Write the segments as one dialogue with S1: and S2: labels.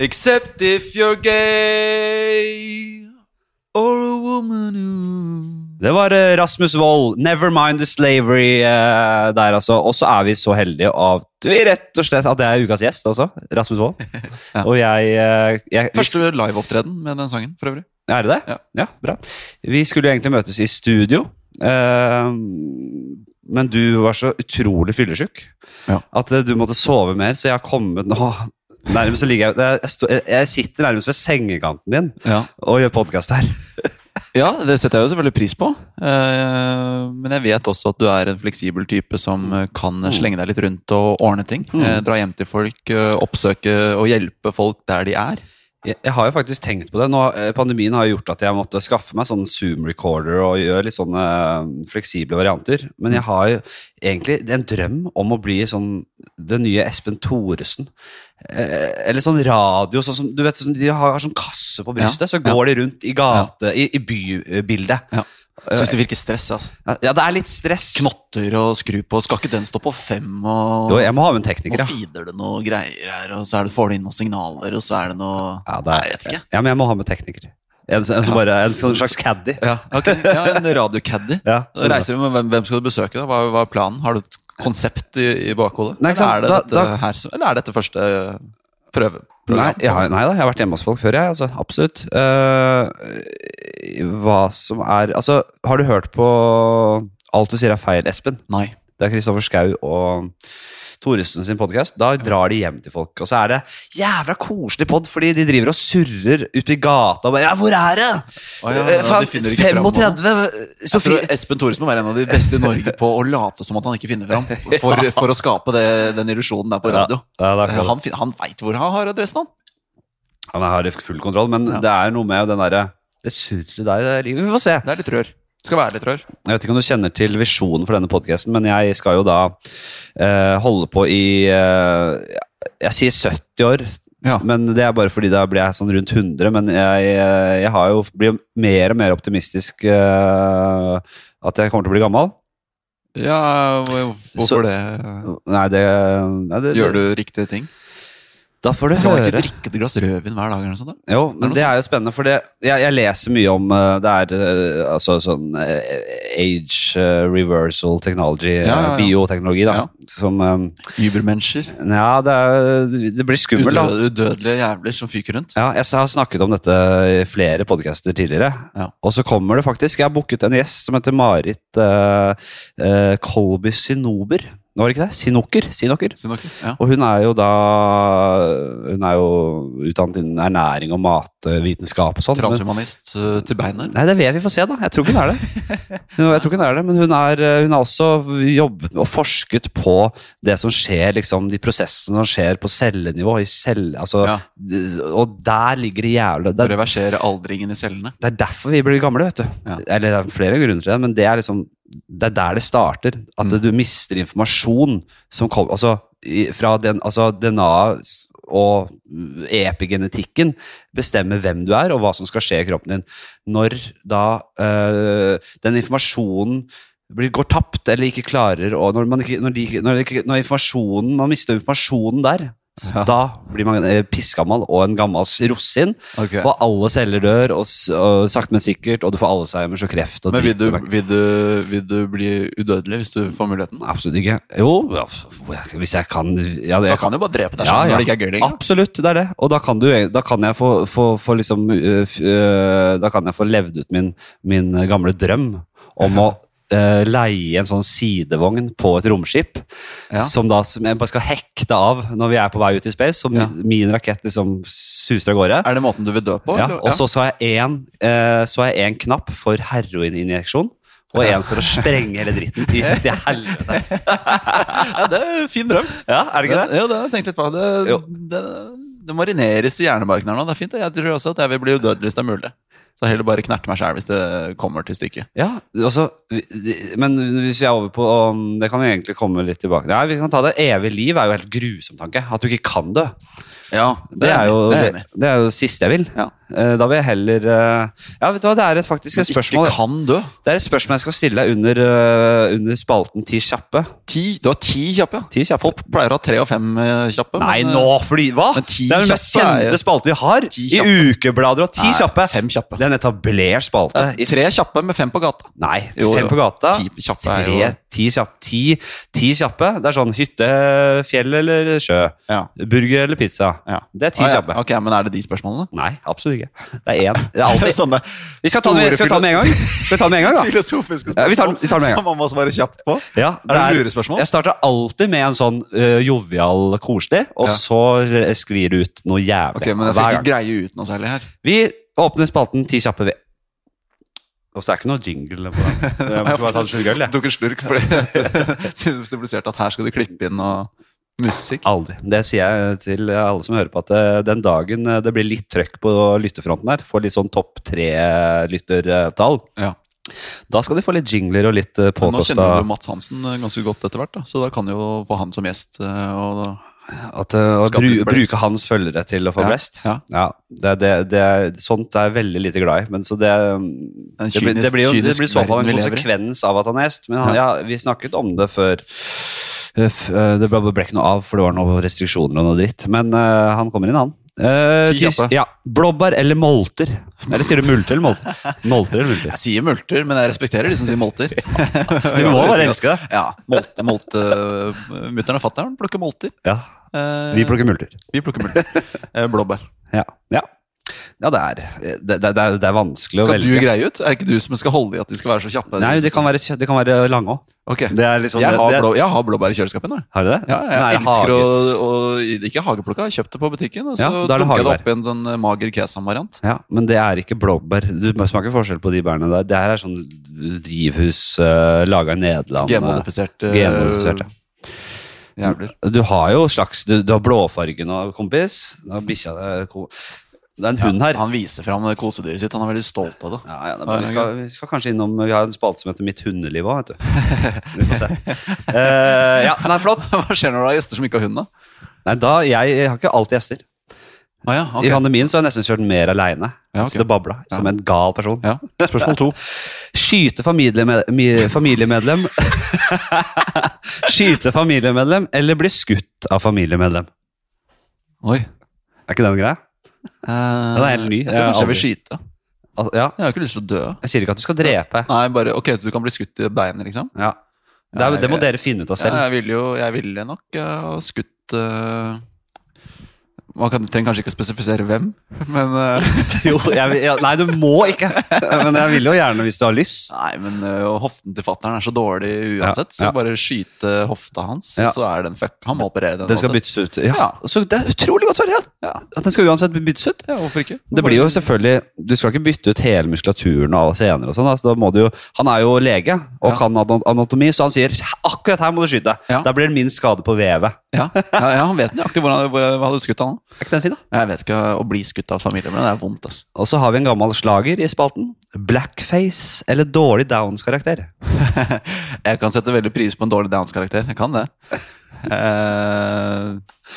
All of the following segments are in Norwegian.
S1: Except if you're gay or a woman who
S2: Det var eh, Rasmus Wold, 'Never Mind the Slavery' eh, der, altså. Og så er vi så heldige at vi rett og slett at det er ukas gjest også. Rasmus Wold.
S1: Ja.
S2: Og jeg, eh, jeg vi-
S1: Første liveopptreden med den sangen, for øvrig.
S2: Er det det?
S1: Ja.
S2: bra. Vi skulle jo egentlig møtes i studio, eh, men du var så utrolig fyllesyk
S1: Ja.
S2: at eh, du måtte sove mer, så jeg har kommet nå Nærmest så ligger jeg, jeg, sto- jeg- jeg sitter nærmest ved sengekanten din
S1: Ja.
S2: og gjør podkast her.
S1: ja, det setter jeg jo selvfølgelig pris på. Eh, Men jeg vet også at du er en fleksibel type som eh, kan slenge deg litt rundt og ordne ting.
S2: Mm.
S1: Eh, Dra hjem til folk, eh, oppsøke og hjelpe folk der de er.
S2: Jeg, jeg har jo faktisk tenkt på det. Nå, eh, pandemien har jo gjort at jeg måtte skaffe meg sånn Zoom-recorder og gjøre litt sånne eh, fleksible varianter.
S1: Mm.
S2: Men jeg har jo egentlig en drøm om å bli sånn den nye Espen Thoresen. Eh, eller sånn radio, sånn som du vet, sånn, de har, har sånn kasse på brystet, så går de rundt i gate, i, i bybildet.
S1: Ja. Syns det virker stress, altså.
S2: Ja, det er litt stress.
S1: Knotter og skru på. Skal ikke den stå på fem? Og,
S2: Jo, jeg må ha med
S1: og
S2: en tekniker, ja.
S1: feeder det noe greier her, og så er det, får du inn noen signaler, og så er det noe
S2: Ja, det
S1: Nei,
S2: er-
S1: jeg vet ikke.
S2: ja, men jeg må ha med tekniker. En, som- en, som bare, en sånn slags caddy.
S1: Ja, ok. ja En radiocaddy.
S2: Ja.
S1: Da Reiser du, men hvem, hvem skal du besøke? da? Hva, hva er planen? Har du et konsept i, i bakhodet?
S2: Nei, ikke sant.
S1: Eller, er det
S2: Da-
S1: dette
S2: da-
S1: her, som- eller er dette første øh, prøve?
S2: Nei, jeg har, nei da, jeg har vært hjemme hos folk før, jeg. Altså, absolutt. Eh, hva som er Altså, har du hørt på Alt du sier er feil, Espen?
S1: Nei.
S2: Det er Kristoffer Schau og Thoresen sin podkast. Da drar de hjem til folk, og så er det jævla koselig pod, fordi de driver og surrer ute i gata og bare Ja, hvor er det?
S1: Å ja,
S2: Eh,
S1: de
S2: faen,
S1: finner ikke fram nå.
S2: 35
S1: Jeg tror
S2: Sofie
S1: Espen Thoresen må være en av de beste i Norge på å late som at han ikke finner fram. For, for å skape det, den illusjonen der på radio. Eh,
S2: Ja, det er akkurat det.
S1: Han, fin- han veit hvor han har adressen, han.
S2: Han har full kontroll, men
S1: Ja.
S2: det er noe med den derre Det surret der i det livet. Vi får se.
S1: Det er litt rør. Skal være litt rør.
S2: Jeg vet ikke om du kjenner til visjonen for denne podkasten, men jeg skal jo da eh, holde på i eh, Jeg sier 70 år,
S1: Ja.
S2: men det er bare fordi da blir jeg sånn rundt 100. Men jeg, eh, jeg har jo, blir jo mer og mer optimistisk eh, at jeg kommer til å bli gammel.
S1: Ja, hvor-
S2: Så-
S1: hvorfor det?
S2: Nei, det, nei, det
S1: Gjør du riktige ting?
S2: Da får du
S1: Skal man ikke
S2: høre.
S1: drikke et glass rødvin hver dag? eller noe sånt da?
S2: Jo,
S1: Er det
S2: men det er jo spennende, for det, jeg, jeg leser mye om eh, Det er eh, altså sånn eh, age eh, reversal technology, eh,
S1: Ja, ja, ja.
S2: bioteknologi, da,
S1: Ja.
S2: som eh,
S1: Ubermennesker.
S2: Ja, det, er, det blir skummelt, da.
S1: Udøde- Udødelige jævler som fyker rundt.
S2: Ja, jeg har snakket om dette i flere podcaster tidligere.
S1: Ja.
S2: Og så kommer det faktisk Jeg har booket en gjest som heter Marit eh, eh, Kolby Sinober. Var det ikke det? Sinoker. Sinoker.
S1: Sier dere? Ja.
S2: Og hun er jo da Hun er jo utdannet innen ernæring og matvitenskap og sånn. men-
S1: Transhumanist eh, til beinet.
S2: Nei, det vet vi får se, da. Jeg tror ikke hun er det. Hun- Jeg tror ikke Hun er det, men hun, er, eh, hun har også jobbet med og forsket på det som skjer, liksom, de prosessene som skjer på cellenivå. I cell, altså,
S1: Ja.
S2: d- Og der ligger det jævla det er,
S1: Reversere aldringen i cellene.
S2: det er derfor vi blir gamle, vet du.
S1: Ja.
S2: Eller det er flere grunner til det, men det er liksom det er der det starter. At
S1: Mm.
S2: du mister informasjon som kom, altså, i, fra den, altså, DNA s- og epigenetikken bestemmer hvem du er, og hva som skal skje i kroppen din. Når da øh, den informasjonen blir, går tapt eller ikke klarer å når, man ikke, når, de, ikke- når, det ikke, når informasjonen, man mister informasjonen der, s-
S1: Ja.
S2: da blir man eh, pissgammal og en gammal s- rosin. Og alle celler dør, og, s- og sakte, men sikkert, og du får Alzheimers og kreft og
S1: Men vil
S2: dritt.
S1: du,
S2: og møkk.
S1: vil, du, vil du bli udødelig hvis du får muligheten?
S2: Absolutt ikke. Jo, ja, f- hvis jeg kan ja,
S1: Da
S2: jeg
S1: kan du bare drepe deg selv når det ikke er gøy lenger.
S2: Absolutt, det er det. Og da kan, du, e- da kan jeg få, få, få liksom øh, f- øh, Da kan jeg få levd ut min, min eh, gamle drøm om å øh, leie en sånn sidevogn på et romskip,
S1: Ja.
S2: som da som jeg bare skal hekte av når vi er på vei ut i space, så
S1: Ja.
S2: min, min rakett liksom suser av gårde.
S1: Er det måten du vil dø på?
S2: Ah. Ja,
S1: eller?
S2: og så så jeg en, eh, så jeg en knapp for heroininjeksjon, og en for å sprenge hele dritten i til helvete.
S1: ja, det er en fin drøm.
S2: Ja, er det ikke det?
S1: Ja, det har jeg tenkt litt på. Det,
S2: Jo.
S1: det, det marineres i hjernebarken her nå. Det er fint. det. Jeg tror også at jeg vil bli udødelig hvis det er mulig. Så heller bare knerte meg sjæl hvis det kommer til stykket.
S2: Ja, altså, vi- men hvis vi er over på um, Det kan vi egentlig komme litt tilbake Nei, vi kan ta det. Evig liv er jo helt grusom tanke. At du ikke kan dø.
S1: Ja,
S2: Det er, jo,
S1: det
S2: det,
S1: er jeg enig i.
S2: det er jo det siste jeg vil.
S1: Ja.
S2: Eh, Da vil jeg heller eh, Ja, vet du hva, det er et faktisk et
S1: Men
S2: spørsmål
S1: Ikke kan dø.
S2: Det er et spørsmål jeg skal stille deg under, eh, under spalten Ti kjappe.
S1: Ti, du har ti kjappe, ja.
S2: Ti kjappe.
S1: Folk pleier å ha tre og fem eh, kjappe.
S2: Nei,
S1: men, eh,
S2: nå! Fordi, hva?
S1: Men ti
S2: Det er den mest
S1: kjappe er jo-
S2: kjente spalten vi har
S1: Ti
S2: i ukeblader. Og ti
S1: Nei,
S2: kjappe!
S1: Fem kjappe.
S2: Det er en etablert spalte.
S1: Det er
S2: I-
S1: tre kjappe med fem på gata.
S2: Nei,
S1: Jo,
S2: fem
S1: jo.
S2: på gata.
S1: Ti kjappe er jo-
S2: Tre, ti, kjapp, ti, ti kjappe. Det er sånn hytte, fjell eller sjø.
S1: Ja.
S2: Burger eller pizza.
S1: Ja.
S2: Det er ti
S1: Ah, ja.
S2: kjappe.
S1: Ok, Men er det de spørsmålene?
S2: Nei, absolutt ikke. Det er én. Det er alltid
S1: Sånne
S2: Vi skal ta den med,
S1: store
S2: skal vi ta den med en gang. Skal vi ta den med en gang, da?
S1: Filosofiske
S2: Ja, vi tar den- vi tar den med en gang.
S1: som man må svare kjapt på.
S2: Ja,
S1: Er det lurespørsmål?
S2: Jeg starter alltid med en sånn ø, jovial, koselig, og
S1: Ja.
S2: så re- sklir det ut noe jævlig.
S1: Ok, Men jeg
S2: hver
S1: skal
S2: gang.
S1: ikke greie ut noe særlig her.
S2: Vi åpner spalten Ti kjappe ved. Og så er det ikke noe jingle. på den. Jeg må bare ta en slurk øl, jeg.
S1: Tok en slurk fordi symboliserte at her skal du klippe inn noe musikk.
S2: Aldri. Det sier jeg til alle som hører på, at eh, den dagen eh, det blir litt trøkk på lyttefronten her, får litt sånn topp tre-lyttertall,
S1: Ja.
S2: da skal de få litt jingler og litt eh,
S1: Men Nå
S2: påkosta
S1: kjenner du Mats Hansen eh, ganske godt etter hvert, da. så da kan du jo få han som gjest. eh, Og da,
S2: At, eh, å
S1: Skape
S2: bru,
S1: blest.
S2: bruke hans følgere til å få
S1: Ja,
S2: blest.
S1: ja.
S2: det, det, det, er- sånt er jeg veldig lite glad i. Men så det, eh, det, blir-
S1: kynisk-
S2: det blir jo det
S1: kynisk
S2: blir i så fall
S1: verden
S2: en
S1: vi lever i.
S2: konsekvens av at han er gjest. Men han, ja. vi snakket om det før. Uff, eh, Det ble, ble ikke noe av, for det var noen restriksjoner og noe dritt. Men eh, han kommer inn, han. Eh,
S1: Ti
S2: tis-
S1: kjappe.
S2: ja. Blåbær eller molter? Eller sier du multer eller molter? Molter eller multer?
S1: jeg sier multer, men jeg respekterer de som sier molter.
S2: Du må bare elske det.
S1: Ja. Molte, molte, Mutter'n og fatter'n plukker molter.
S2: Ja,
S1: Eh,
S2: vi plukker multer.
S1: vi plukker multer. Eh, Blåbær.
S2: Ja, ja. ja det, er, det, det, det er- det er vanskelig å
S1: Skal du
S2: velge.
S1: greie ut? Er det ikke du som skal holde i at de skal være så kjappe?
S2: Nei, det kan være, kjø- det kan være lange òg.
S1: Ok.
S2: Det er litt sånn-
S1: jeg, har
S2: det-
S1: blå, jeg har blåbær i kjøleskapet nå. jeg.
S2: Har du det?
S1: Ja, jeg
S2: Nei,
S1: elsker
S2: hage.
S1: å, å Ikke hageplukka, jeg kjøpte det på butikken. Og så
S2: Ja, da er det
S1: dunket jeg det
S2: hagebær.
S1: opp i en sånn, eh, mager kesam-variant.
S2: Ja, men det er ikke blåbær. Du smaker forskjell på de bærene der. Det her er sånn drivhus uh, laga i Nederland.
S1: Genmodifisert. eh,
S2: Genmodifisert, ja.
S1: Jævler.
S2: Du har jo slags Du, du har blåfargen og kompis. Da har bikkja deg ko- Det er en hund her.
S1: Han viser fram kosedyret sitt. Han er veldig stolt av det.
S2: Ja, ja, det er bra. vi, skal, vi skal kanskje innom Vi har en spalte som heter Mitt hundeliv òg, vet du. Vi får se. Eh, ja, nei, flott.
S1: Hva skjer når du har gjester som ikke har hund, da?
S2: Nei, da, jeg, jeg har ikke alltid gjester.
S1: Ah, ja, ok.
S2: I pandemien så har jeg nesten kjørt mer aleine.
S1: Ja, ok.
S2: Så det babla som en gal person.
S1: ja. Spørsmål to.
S2: Skyte familiemed, mi- familiemedlem Skyte familiemedlem eller bli skutt av familiemedlem?
S1: Oi.
S2: Er ikke den greia?
S1: Den
S2: er helt ny.
S1: Eh, Jeg
S2: Jeg
S1: tror
S2: har
S1: kanskje jeg vil skyte.
S2: Al- Ja,
S1: Jeg har ikke lyst til å dø.
S2: Jeg sier ikke at du skal drepe.
S1: Nei, bare Ok, du kan bli skutt i beinet, liksom.
S2: Ja. Det, er, det må dere finne ut av
S1: Ja,
S2: selv.
S1: jeg ville jo Jeg ville nok eh, ha skutt eh, Man kan, trenger kanskje ikke å spesifisere hvem, men eh,
S2: Jo, jeg, vil- ja, nei, du må ikke. Men jeg vil jo gjerne hvis du har lyst.
S1: Nei, men eh, hoften til fatter'n er så dårlig uansett,
S2: Ja, ja.
S1: så bare skyte hofta hans,
S2: Ja.
S1: så er den fuck. Han må operere den.
S2: Den skal
S1: uansett.
S2: byttes ut. altså. Ja, så Det er utrolig godt svar. ja. At den skal uansett byttes ut.
S1: Ja, hvorfor ikke?
S2: Det blir jo selvfølgelig, Du skal ikke bytte ut hele muskulaturen og alle sener. og sånn, altså, da må du jo, Han er jo lege og
S1: Ja.
S2: kan ana- anatomi, så han sier akkurat her må du skyte.
S1: Ja.
S2: Da blir det minst skade på vevet.
S1: ja. Ja, ja, han vet nøyaktig hvor han hvor- hva hadde skutt han. da.
S2: Er ikke den fin da?
S1: Jeg vet ikke å bli skutt av familien, men det er vondt, ass.
S2: Og så har vi en gammel slager i spalten. Blackface eller dårlig Downs-karakter?
S1: Jeg kan sette veldig pris på en dårlig Downs-karakter. Jeg kan det. Eh,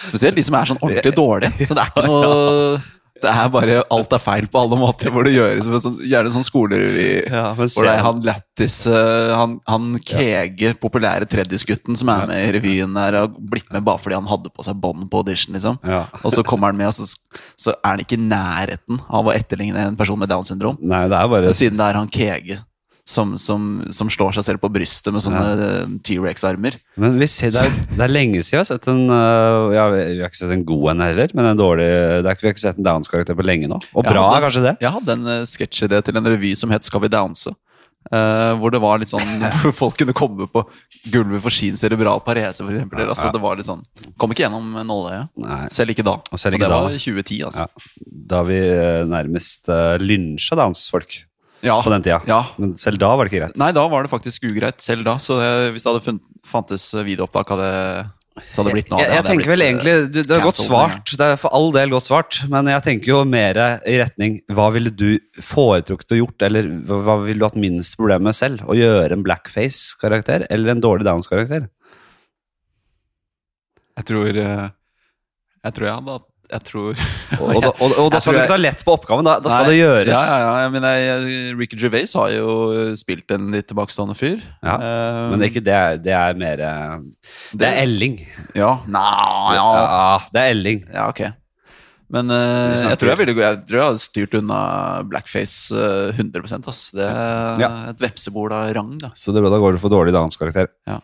S1: spesielt de som er sånn ordentlig dårlige. Så det er ikke noe Det er bare alt er feil på alle måter, hvor det gjøres med sånn, gjerne sånn skolerevy.
S2: Ja, men
S1: Hvor det er han lættis, eh, han, han kege, populære tredjesgutten som er med i revyen der, og har blitt med bare fordi han hadde på seg bånd på audition, liksom.
S2: Ja.
S1: Og så kommer han med, og så, så er han ikke i nærheten av å etterligne en person med Downs syndrom.
S2: Nei, det er bare
S1: Men Siden det er han Kege som, som, som slår seg selv på brystet med sånne eh, T-rex-armer.
S2: Men vi ser, det, er, det er lenge siden vi har sett en øh, ja, Vi vi har ikke sett en god en heller, men en dårlig det er, ikke- Vi har ikke sett en Downs-karakter på lenge nå. Og
S1: Ja,
S2: bra
S1: det-
S2: er kanskje det?
S1: Jeg hadde en eh, sketsjidé til en revy som het Skal vi downse? Eh, hvor det var litt sånn Hvor folk kunne komme på gulvet for sin cerebral parese, for eksempel. Altså, det var litt sånn Kom ikke gjennom nåløyet.
S2: Nei.
S1: Selv ikke da.
S2: Og selv ikke
S1: det
S2: da.
S1: var i 2010, altså.
S2: Ja. Da vi øh, nærmest øh, lynsja Downs-folk.
S1: Ja.
S2: på den tida.
S1: Ja.
S2: Men selv da var det ikke greit.
S1: Nei, da var det faktisk ugreit selv da. Så det, hvis det hadde funnet, fantes videoopptak av det, så hadde det blitt noe av det.
S2: jeg, jeg
S1: hadde jeg
S2: tenker vel
S1: blitt, eh,
S2: egentlig, du, Det er godt
S1: cancelled med en
S2: svart, det er for all del godt svart, men jeg tenker jo mer i retning Hva ville du foretrukket å gjort, eller hva, hva ville du hatt minst problem med selv? Å gjøre en blackface-karakter eller en dårlig Downs-karakter?
S1: Jeg tror eh, Jeg tror jeg hadde hatt jeg tror
S2: Og, og, da- og, og da
S1: Jeg tror
S2: skal du
S1: jeg-
S2: ikke ta lett på oppgaven, da, da skal
S1: Nei,
S2: det gjøres.
S1: Ja, ja, ja. Men jeg, jeg- Ricky Gervais har jo eh, spilt en litt tilbakestående fyr.
S2: Ja,
S1: Eh,
S2: Men det er ikke det, er- det er mer eh, Det er Elling.
S1: Ja, nei,
S2: Ja,
S1: Ah, ja.
S2: det er Elling.
S1: ja ok. Men eh,
S2: Vi snakker-
S1: jeg tror jeg, ville, gå- jeg tror jeg hadde styrt unna blackface eh, 100 ass. Det er
S2: Ja.
S1: et vepsebol av rang, da.
S2: Så det, da går du for dårlig damskarakter.
S1: Ja.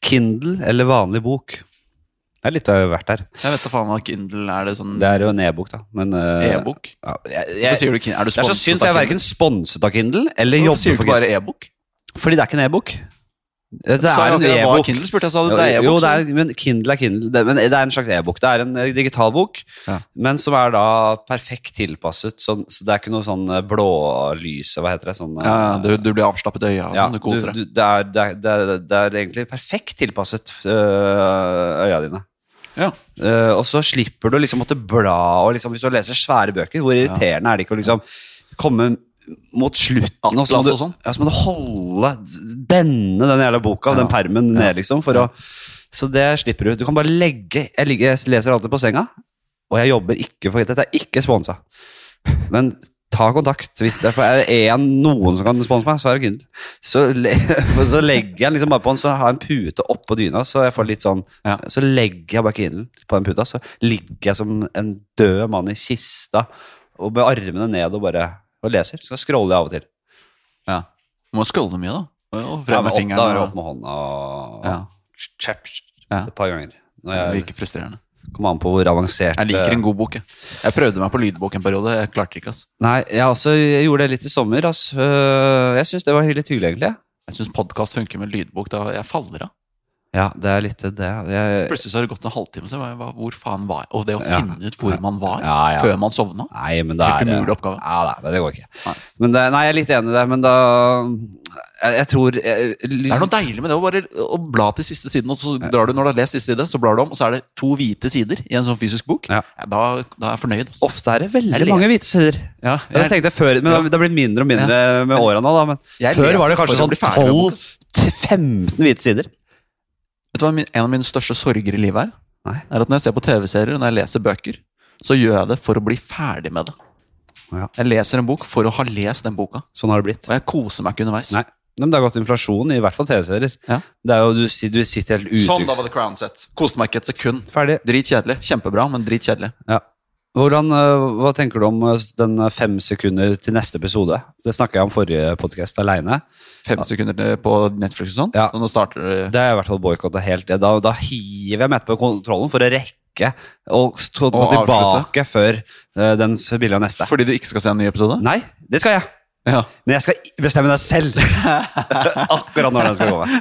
S2: Kindle eller vanlig bok? Det er litt av hvert her.
S1: Jeg vet da faen hva Kindle er. det sånn
S2: Det er jo en e-bok, da. Men eh,
S1: e-bok?
S2: Ja, jeg,
S1: Hvorfor
S2: jeg,
S1: sier du Kindle? Er du
S2: det er så
S1: sponset
S2: synd, for jeg er
S1: av
S2: verken sponset av Kindle eller
S1: Kindle? Hvorfor sier
S2: jobber
S1: du
S2: for
S1: ikke
S2: Kindle.
S1: bare e-bok?
S2: Fordi det er ikke en e-bok. Det
S1: Sa jeg
S2: er en
S1: at det var
S2: e-bok.
S1: Kindle, spurte jeg, sa du
S2: Jo,
S1: det er e-bok?
S2: jo, det
S1: så-
S2: er, men Kindle er Kindle. Det, men det er en slags e-bok. Det er en eh, digital bok,
S1: Ja.
S2: men som er da perfekt tilpasset. Sånn, så det er ikke noe sånn eh, blålyse, hva heter det? Sånn, eh,
S1: ja, ja, du, du blir avslappet i øya og
S2: ja,
S1: sånn, du koser deg.
S2: du- det, er, det, er, det, er, det er egentlig perfekt tilpasset øh, øya dine.
S1: Ja.
S2: Eh, og så slipper du liksom måtte bla, og liksom, hvis du leser svære bøker, hvor irriterende er det ikke å liksom komme mot slutten, og så må,
S1: Atlas
S2: du,
S1: og sånn.
S2: ja, så må du holde, bende den jævla boka, den permen ned, liksom, for å Så det slipper du. Du kan bare legge Jeg, ligger, jeg leser alltid på senga, og jeg jobber ikke for Dette er ikke sponsa, men ta kontakt. Hvis det for er det en, noen som kan sponse meg, så er det Kindle. Så, le, så legger jeg den liksom bare på den, så har jeg en pute oppå dyna, så jeg får litt sånn
S1: Ja.
S2: Så legger jeg bare Kindlen på den puta, så ligger jeg som en død mann i kista og med armene ned og bare og leser. Så scroller jeg av og til.
S1: Ja. Du må skåle mye, da. Og
S2: Ja,
S1: frem
S2: med
S1: med
S2: åtta
S1: fingeren.
S2: og
S1: og-
S2: opp med hånda og
S1: Ja.
S2: Chap, chap,
S1: Ja.
S2: et par ganger. Når
S1: Det
S2: jeg
S1: virker frustrerende.
S2: kommer an på hvor avansert
S1: Jeg liker
S2: eh,
S1: en god bok, jeg. Jeg prøvde meg på lydbok en periode. Jeg klarte ikke, ass.
S2: Nei, jeg, også, jeg gjorde det litt i sommer. ass. Øh, Jeg syns det var litt hyggelig, egentlig.
S1: Jeg syns podkast funker med lydbok. Da jeg faller av.
S2: Ja, det er litt det. Jeg,
S1: Plutselig så har det gått en halvtime, så jeg bare, hvor faen var jeg? Og det å
S2: Ja.
S1: finne ut hvor man var
S2: Ja, ja.
S1: før man sovna.
S2: nei, men det
S1: Helt
S2: er
S1: umulig oppgave.
S2: Ja, nei, det går ikke.
S1: Nei.
S2: Men det, nei, jeg er litt enig i det, men da Jeg, jeg tror jeg,
S1: Det er noe deilig med det å bare å bla til siste siden, og så drar du når du har lest siste side, så blar du om, og så er det to hvite sider i en sånn fysisk bok.
S2: Ja.
S1: Da, da er jeg fornøyd. ass.
S2: Ofte er det veldig
S1: Jeg
S2: mange
S1: leser-
S2: hvite sider.
S1: Ja,
S2: Det
S1: jeg,
S2: tenkte jeg før, men det har blitt mindre og mindre med åra nå. Da, men
S1: Jeg
S2: før
S1: leser
S2: var det
S1: for
S2: kanskje
S1: å
S2: sånn
S1: bli ferdig med boka, ass.
S2: 12-15 hvite sider.
S1: Vet du hva min- en av mine største sorger i livet er?
S2: Nei.
S1: Er at Når jeg ser på TV-serier og når jeg leser bøker, så gjør jeg det for å bli ferdig med det.
S2: Ja.
S1: Jeg leser en bok for å ha lest den boka,
S2: Sånn har det blitt.
S1: og jeg koser meg ikke underveis.
S2: Nei. Nei, Men det har gått inflasjon i hvert fall TV-serier.
S1: Ja.
S2: Det er jo, du, si- du sitter helt
S1: Sånn, da
S2: utrygg.
S1: var The Crown sett. Koste meg ikke et sekund.
S2: Ferdig.
S1: Dritkjedelig. Kjempebra, men dritkjedelig.
S2: Ja. Hvordan, øh, hva tenker du om øh, den øh, fem sekunder til neste episode? Det snakka jeg om forrige podkast aleine.
S1: Fem sekunder til på Netflix og sånn.
S2: Ja.
S1: Og nå starter det
S2: Det er i hvert fall boikotta helt. det. Da, da hiver jeg meg etterpå kontrollen for å rekke å stå, gå
S1: Og avslutte.
S2: tilbake før øh, den s- bildet neste.
S1: Fordi du ikke skal se en ny episode?
S2: Nei, det skal jeg.
S1: Ja.
S2: Men jeg skal i- bestemme det selv. Akkurat når den skal komme.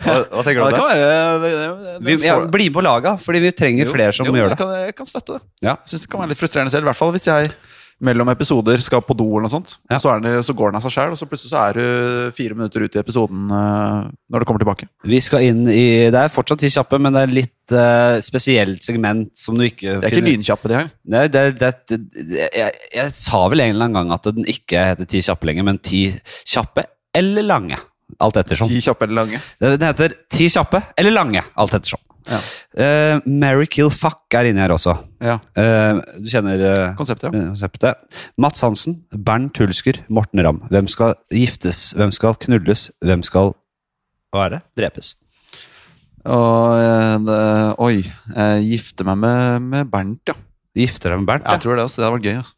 S2: Hva, hva tenker
S1: Ja, det
S2: du om det?
S1: kan være det, det, det,
S2: Vi, ja, bli med på laget, fordi vi trenger flere som
S1: jo,
S2: gjør
S1: jeg
S2: det.
S1: kan, jeg kan støtte det.
S2: Ja.
S1: Jeg synes det kan være litt frustrerende selv, i hvert fall hvis jeg mellom episoder skal på do eller noe sånt.
S2: Ja.
S1: Og så, er det, så går den av seg sjøl, og så plutselig så er du fire minutter ut i episoden eh, når du kommer tilbake.
S2: Vi skal inn i Det er fortsatt ti kjappe, men det er litt eh, spesielt segment som du ikke
S1: Det er ikke lynkjappe, de her.
S2: Nei, det, det, det, jeg, jeg sa vel en eller annen gang at den ikke heter Ti kjappe lenger, men Ti kjappe eller lange. Alt ettersom.
S1: Ti kjappe eller lange.
S2: Den heter Ti kjappe eller lange. Alt ettersom.
S1: Ja.
S2: Eh, Mary Kill Fuck er inni her også.
S1: Ja,
S2: Eh, du kjenner eh,
S1: Konseptet, ja.
S2: eh, konseptet. Mats Hansen, Bernt Hulsker, Morten Ramm. Hvem skal giftes? Hvem skal knulles? Hvem skal Hva er det? Drepes.
S1: Og eh, det, oi. eh, gifte meg med, med Bernt, ja.
S2: Gifter deg med Bernt?
S1: Jeg
S2: Ja.
S1: tror det også. Det hadde vært gøy. Altså.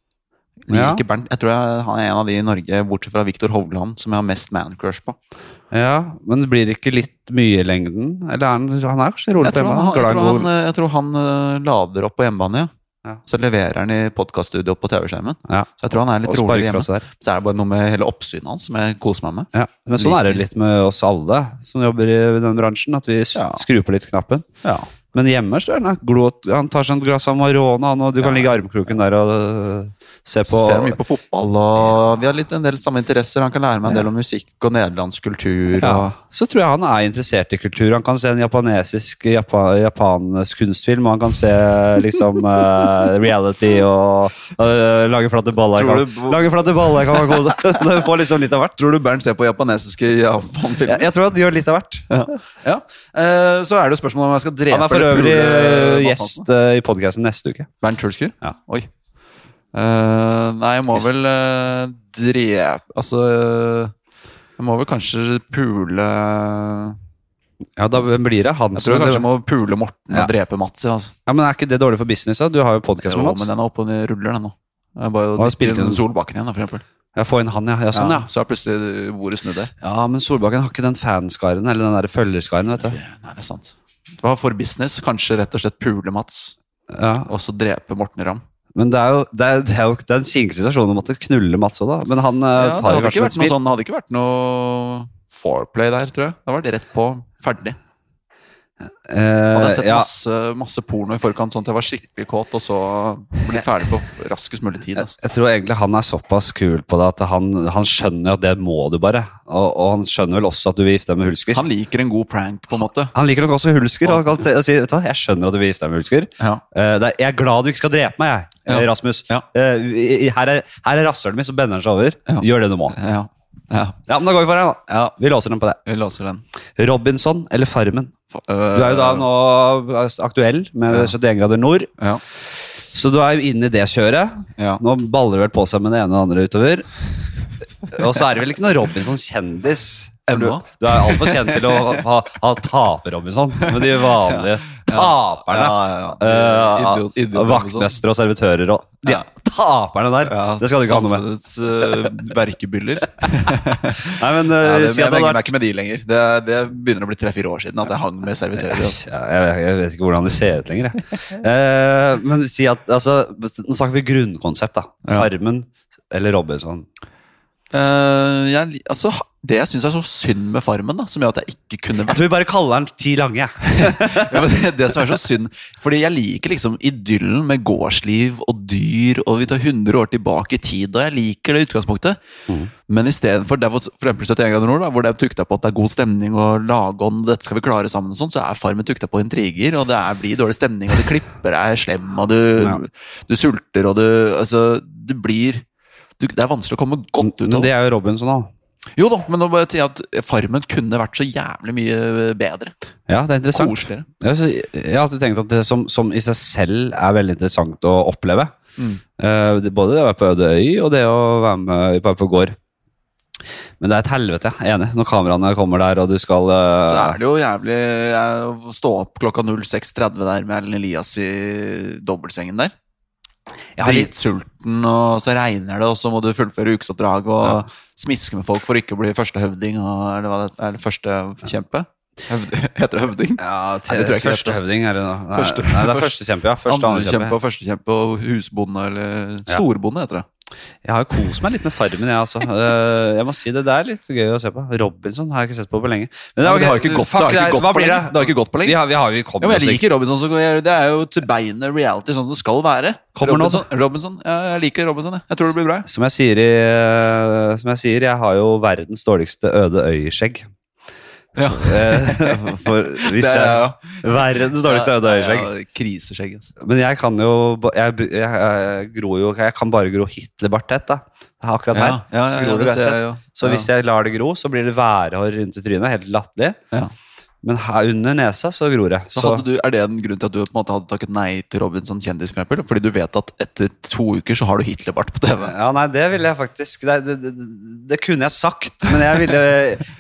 S1: Jeg
S2: Ja.
S1: liker Bernt. Jeg tror jeg, han er en av de i Norge, bortsett fra Viktor Hovland, som jeg har mest man-crush på.
S2: ja, Men det blir ikke litt mye i lengden? Eller er han, han er kanskje rolig
S1: Jeg
S2: på
S1: tror han,
S2: hjemme?
S1: jeg
S2: Glad i
S1: tror
S2: god-
S1: han, eh, jeg tror han eh, lader opp på hjemmebane, ja.
S2: Ja.
S1: Så leverer han i podkaststudio på TV-skjermen.
S2: Ja.
S1: Så jeg tror han er litt
S2: Og
S1: roligere hjemme.
S2: sparkeklasse der.
S1: Så er det bare noe med hele oppsynet hans som jeg koser meg med.
S2: Ja. Men sånn er det litt med oss alle som jobber i den bransjen, at vi s-
S1: Ja.
S2: skrur på litt knappen. Men hjemme så er han glot, han tar seg et glass Amarone, han, og du kan ligge i armkroken der og øh, se
S1: Så
S2: på
S1: ser jeg mye på fotball, og vi har litt en del samme interesser. Han kan lære meg en del om musikk og nederlandsk kultur.
S2: ja.
S1: Og
S2: Så tror jeg han er interessert i kultur. Han kan se en japanesisk japa, japansk kunstfilm, og han kan se liksom eh, reality og øh, lage flate baller.
S1: Tror
S2: Kan,
S1: du-
S2: lage flate baller kan man kose seg Du får liksom litt av hvert.
S1: Tror du Bernt ser på japanesiske
S2: Jeg,
S1: Japan-filmer?
S2: jeg tror han gjør litt av hvert.
S1: Ja. Ja. Eh, Så er det jo spørsmålet om jeg skal
S2: Han
S1: drepe
S2: er for
S1: eller
S2: øvrig
S1: Pule-
S2: gjest eh, i podkasten neste uke.
S1: Bernt Hulsker?
S2: Ja.
S1: Oi. Eh, nei, jeg må vel uh, drepe Altså Jeg må vel kanskje pule Jeg
S2: Ja, da blir det han
S1: tror
S2: som-
S1: jeg kanskje jeg må pule Morten
S2: Ja.
S1: og drepe Mats. Ja, altså.
S2: Ja, men Er ikke det dårlig for business? da? Du har jo podkast
S1: Jo,
S2: med Mats.
S1: men den er oppe og den ruller, den nå. Jeg bare
S2: har
S1: å dytte
S2: spilt
S1: inn
S2: inn-
S1: Solbakken igjen, da, for eksempel.
S2: Ja, Få inn han, ja. ja sånn, ja.
S1: Så er plutselig bordet snudd der.
S2: Ja, men Solbakken har ikke den fanskaren eller den der følgerskaren. vet du.
S1: Nei, det er sant. Hva for business? Kanskje rett og slett pule Mats,
S2: Ja,
S1: og så drepe Morten Ramm.
S2: Men det er jo, det er, det er jo det er en kinkig situasjon å måtte knulle Mats òg, da. Men han eh,
S1: Ja, det
S2: tar jo
S1: hadde ikke
S2: kanskje et
S1: vært noe
S2: spill.
S1: sånn, det hadde ikke vært noe foreplay der, tror jeg. Det hadde vært rett på, ferdig.
S2: Eh,
S1: Hadde jeg sett
S2: ja,
S1: masse, masse porno i forkant, sånn at jeg var skikkelig kåt, og så ble ferdig på raskest mulig tid. Altså.
S2: jeg tror egentlig han er såpass kul på det at han, han skjønner jo at det må du bare. Og, og han skjønner vel også at du vil gifte deg med Hulsker. Han,
S1: Han liker en god prank, på en måte.
S2: liker nok også Hulsker. Han kan t- si vet du hva, jeg skjønner at du vil gifte deg med Hulsker.
S1: Ja.
S2: Eh, det er, jeg er glad du ikke skal drepe meg, jeg, eh,
S1: Ja.
S2: Rasmus.
S1: Ja.
S2: Eh, i- i- her er, her er rasshølet mitt, så bender han seg over.
S1: Ja.
S2: Gjør det du må.
S1: Ja. ja.
S2: Ja, men da går vi for det, da.
S1: ja.
S2: Vi låser den på det.
S1: Vi låser den. Eh,
S2: Robinson eller Farmen?
S1: Du
S2: Du er jo da nå eh, aktuell med
S1: Ja.
S2: 71 grader nord,
S1: Ja.
S2: så du er jo inne i det kjøret.
S1: ja.
S2: Nå baller det vel på seg med det ene og det andre utover. Og så er det vel ikke noe Robinson-kjendis. For Du,
S1: Ennå.
S2: du er altfor kjent til å ha, ha taper-Robinson med de vanlige taperne.
S1: ja, ja.
S2: Eh,
S1: Idiot- idiot-
S2: Vaktmestere og servitører og de
S1: Ja.
S2: taperne der.
S1: Ja,
S2: det skal du ikke ha noe med.
S1: Samfunnets eh, verkebyller.
S2: Nei, men, eh,
S1: Ja, det, jeg
S2: si at det
S1: venger
S2: hadde
S1: meg
S2: vært
S1: ikke med de lenger. Det, det begynner å bli tre-fire år siden at jeg hang med servitører. altså.
S2: Ja, jeg, jeg vet ikke hvordan det ser ut lenger. Jeg. Eh, men si at, altså, Nå snakker vi grunnkonsept. da Farmen eller Robinson.
S1: Eh, jeg, li- altså, det jeg syns er så synd med Farmen, da, som gjør at jeg ikke kunne
S2: Jeg tror vi bare kaller den Ti lange. jeg.
S1: ja, men det, det som er så synd Fordi jeg liker liksom idyllen med gårdsliv og dyr, og vi tar 100 år tilbake i tid, og jeg liker det utgangspunktet.
S2: Mm.
S1: Men istedenfor der hvor for eksempel 71 grader nord, da, hvor det er tukta på at det er god stemning og lagånd, dette skal vi klare sammen, og sånn, så er Farmen tukta på intriger, og det er, blir dårlig stemning, og du klipper deg slem, og du,
S2: Ja.
S1: du sulter, og du Altså, det blir du, Det er vanskelig å komme godt ut
S2: Men
S1: av
S2: det
S1: det.
S2: er jo Robinson òg.
S1: Jo da, men nå bare sier jeg at Farmen kunne vært så jævlig mye bedre.
S2: Ja, det er interessant.
S1: Koseligere.
S2: Jeg, sy- jeg har alltid tenkt at det som, som i seg selv er veldig interessant å oppleve.
S1: Mm.
S2: Eh, det- både det å være på øde øy og det å være med på, på gård. Men det er et helvete. jeg er Enig. Når kameraene kommer der, og du skal eh,
S1: Så er det jo jævlig jeg, å stå opp klokka 06.30 der med Erlend Elias i dobbeltsengen der.
S2: Jeg har litt-
S1: Dritsulten, og så regner det, og så må du fullføre ukesoppdrag og smiske med folk for ikke å bli første høvding, og, eller hva det er, eller første kjempe? Høvd, heter det høvding?
S2: Ja,
S1: Nei, det tror jeg ikke heter,
S2: første
S1: altså.
S2: høvding er det nå. Nei,
S1: Første-
S2: nei, det er førstekjempe, ja. Første andre
S1: Andrekjempe
S2: kjempe.
S1: og førstekjempe og husbonde eller
S2: Ja.
S1: Storbonde heter det.
S2: Jeg har jo kost meg litt med Farmen, jeg, altså. Eh, jeg må si det, det er litt gøy å se på. Robinson har jeg ikke sett på på lenge. Men
S1: Ja,
S2: er
S1: men det
S2: ok.
S1: har jo ikke gått-
S2: Fuck,
S1: det har ikke
S2: er-
S1: gått
S2: hva
S1: på
S2: blir
S1: lenge. Det har ikke gått på lenge.
S2: Vi har, vi har, vi kommer
S1: Ja, men
S2: oss
S1: jeg liker Robinson. Så det er jo til beinet reality, sånn det skal være.
S2: Kommer nå, da.
S1: Robinson, Robinson, ja, jeg liker Robinson. jeg. Jeg tror det blir bra. jeg.
S2: Som jeg sier, i, som jeg, sier jeg har jo verdens dårligste øde øyeskjegg.
S1: Ja.
S2: Eh, For hvis
S1: Det er jeg
S2: jeg
S1: også.
S2: Verdens dårligste øde øyeskjegg.
S1: Ja, Kriseskjegg. altså.
S2: Men jeg kan jo ba- jeg, jeg, jeg, gror jo, jeg kan bare gro Hitler-bartett, da. Det er akkurat her.
S1: Ja, ja, ja,
S2: så, gror
S1: ja, det
S2: det
S1: ser jeg
S2: bartett.
S1: jo.
S2: så hvis jeg lar det gro, så blir det værhår rundt i trynet. Helt latterlig.
S1: Ja.
S2: Men her under nesa så gror jeg.
S1: Så
S2: Så,
S1: hadde du, Er det en grunn til at du på en måte hadde takket nei til Robinson kjendis? For eksempel? Fordi du vet at etter to uker så har du Hitlerbart på TV.
S2: ja, nei, det ville jeg faktisk Det, det, det, det kunne jeg sagt, men jeg ville,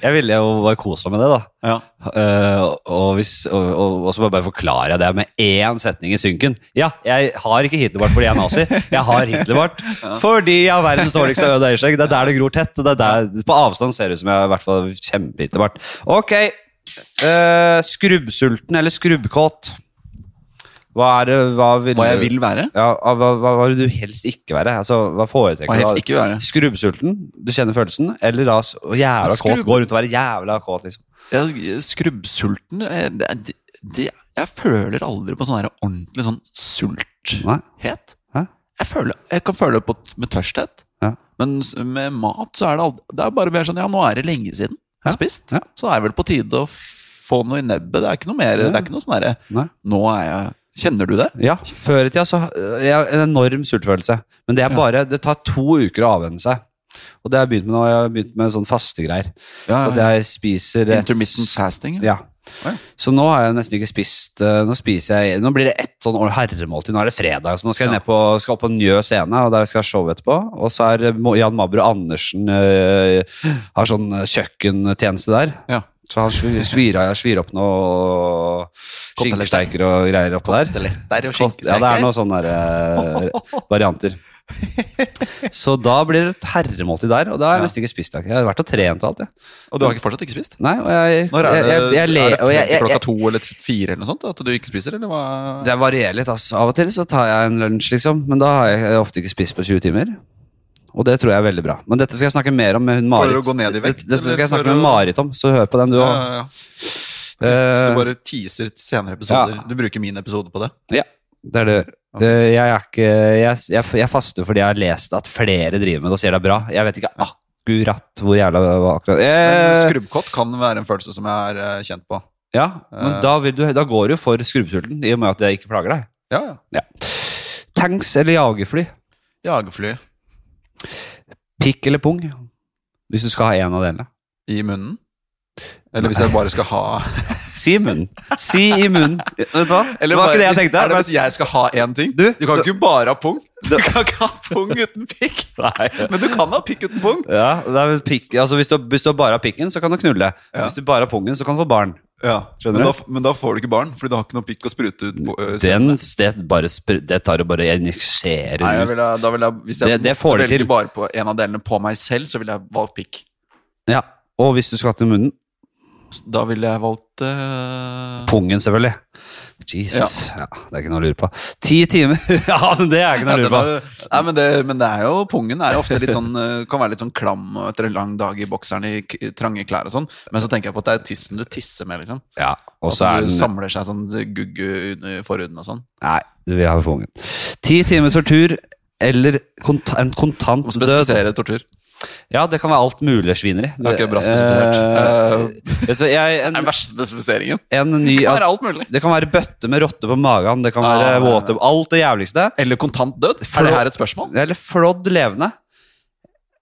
S2: jeg ville jo bare kose meg med det, da.
S1: Ja.
S2: Eh, og, hvis, og, og, og så må jeg bare forklarer jeg det med én setning i synken. Ja, jeg har ikke Hitlerbart fordi jeg er nazi. Jeg har Hitlerbart fordi jeg har verdens dårligste øde øyeskjegg. Det er der det gror tett. Og det er der, på avstand ser det ut som jeg er i hvert fall kjempe-Hitlerbart. Ok. eh, skrubbsulten eller skrubbkåt? Hva er det hva vil
S1: Hva jeg vil være?
S2: Ja, hva, hva, hva vil du helst ikke være? Altså, hva foretrekker
S1: Hva
S2: du?
S1: helst
S2: da?
S1: ikke være?
S2: Skrubbsulten, du kjenner følelsen? Eller da s- å, jævla
S1: Skrubb-
S2: kåt? Gå rundt og være jævla kåt, liksom.
S1: Ja, skrubbsulten eh, det, det, det- Jeg føler aldri på sånn her ordentlig sånn sulthet.
S2: Nei? Hæ?
S1: Jeg, føler, jeg kan føle det på, med tørsthet,
S2: Ja.
S1: men s- med mat så er det aldri Det er bare mer sånn Ja, nå er det lenge siden jeg
S2: Ja,
S1: har spist.
S2: ja.
S1: Så det er vel på tide å få noe i nebbet. Det er ikke noe mer Det er ikke noe sånn herre
S2: Nei.
S1: Nå er jeg Kjenner du det?
S2: Ja, før i tida så øh, jeg har en enorm sultfølelse. Men det er bare, det tar to uker å avvenne seg. Og det har jeg begynt med nå, jeg har begynt med sånn faste greier.
S1: Ja,
S2: Så at jeg spiser et-
S1: Intermittent fasting?
S2: Ja.
S1: Oi.
S2: Så nå har jeg nesten ikke spist eh, Nå spiser jeg Nå blir det ett sånn år- herremåltid. Nå er det fredag, så nå skal jeg
S1: Ja.
S2: ned på, skal opp på Njø scene, og der skal jeg showe etterpå. Og så er eh, Mo- Jan Mabro Andersen eh, har sånn eh, kjøkkentjeneste der.
S1: Ja.
S2: Så han svir, svirer, svir opp noe skinkesteiker og greier oppå der.
S1: Koteletter og
S2: Ja, det er
S1: skinkesteker.
S2: noen sånne der, eh, varianter. Så da blir det et herremåltid der, og da har jeg
S1: Ja.
S2: nesten ikke spist. i dag. Jeg har vært og trent og alt, jeg.
S1: Og du har ikke fortsatt ikke spist?
S2: Nei, og jeg,
S1: Når er det,
S2: jeg, jeg, jeg, le-
S1: er det
S2: og
S1: frem
S2: jeg,
S1: til
S2: jeg,
S1: klokka
S2: jeg
S1: to eller t- fire eller noe sånt at du ikke spiser, eller hva?
S2: Det varierer litt. Altså. Av og til så tar jeg en lunsj, liksom, men da har jeg ofte ikke spist på 20 timer. Og det tror jeg er veldig bra. Men dette skal jeg snakke mer om med hun
S1: For
S2: Marit.
S1: å gå ned i vekt,
S2: dette skal jeg
S1: eller
S2: snakke
S1: for
S2: med
S1: å-
S2: Marit om, så hør på den, du Eh,
S1: Ja,
S2: òg.
S1: ja, ja. Så du bare teaser til senere episoder.
S2: Ja.
S1: Du bruker min episode på det.
S2: Ja, det er det.
S1: Ok.
S2: Det- Jeg, er ikke, jeg, jeg, jeg faster fordi jeg har lest at flere driver med det og sier det er bra. Jeg vet ikke akkurat hvor jævla hva akkurat
S1: Men
S2: eh,
S1: Skrubbkott kan være en følelse som jeg er eh, kjent på.
S2: Ja, men
S1: Eh.
S2: da, vil du, da går du for skrubbsulten, i og med at det ikke plager deg.
S1: Ja, ja.
S2: Tanks eller jagerfly?
S1: Jagerfly
S2: Pikk eller pung? Hvis du skal ha en av delene.
S1: i munnen. Eller hvis jeg bare skal ha
S2: Si i munnen. Si i munnen. Vet du hva?
S1: Eller
S2: det var
S1: bare-
S2: ikke det jeg
S1: hvis,
S2: tenkte.
S1: Er det hvis jeg skal ha én ting?
S2: Du-
S1: kan ikke bare ha pung. Du kan ikke ha pung uten pikk.
S2: Nei.
S1: Men du kan ha pikk uten pung.
S2: Ja, det er vel pikk, altså hvis, du, hvis du bare har pikken, så kan du knulle.
S1: Ja.
S2: Hvis du bare har pungen, så kan du få barn.
S1: Ja,
S2: Skjønner
S1: men
S2: du?
S1: da, men da får du ikke barn, fordi du har ikke noe pikk å sprute ut. På, øh, selv.
S2: Den, det, bare, spr- det tar du bare injiserer
S1: Nei, jeg
S2: ut.
S1: vil ha, da vil jeg, hvis jeg
S2: Det- det
S1: måtte
S2: får du
S1: velge
S2: til.
S1: bare på en av delene på meg selv, så ville jeg valgt pikk.
S2: Ja. Og hvis du skal til munnen,
S1: Da ville jeg valgt øh,
S2: pungen selvfølgelig. Jesus. Ja. det er ikke noe å lure på. Ti timer! ja, men det er ikke
S1: ja,
S2: noe å
S1: den
S2: lure på.
S1: er- Nei, men, det, men det er jo pungen er jo ofte litt sånn øh, kan være litt sånn klam etter en lang dag i bokseren i k trange klær og sånn. Men så tenker jeg på at det er tissen du tisser med, liksom.
S2: Ja, og så
S1: At
S2: er
S1: du
S2: den
S1: samler seg sånn gugge under forhuden og sånn.
S2: Nei, du vil ha pungen. Ti timer tortur eller kont en kontant
S1: Må
S2: død.
S1: spesifisere tortur.
S2: Ja, det kan være alt mulig svineri.
S1: Ok, bra spesifisert.
S2: Eh, vet du, hva, jeg,
S1: Det er den
S2: en,
S1: verste spesifiseringen.
S2: en ny
S1: Det kan
S2: altså,
S1: være alt mulig.
S2: Det kan være bøtte med rotte på magen, det kan være
S1: Ah.
S2: våte Alt det jævligste.
S1: Eller kontant død.
S2: For-
S1: Er det her et spørsmål?
S2: Eller flådd levende.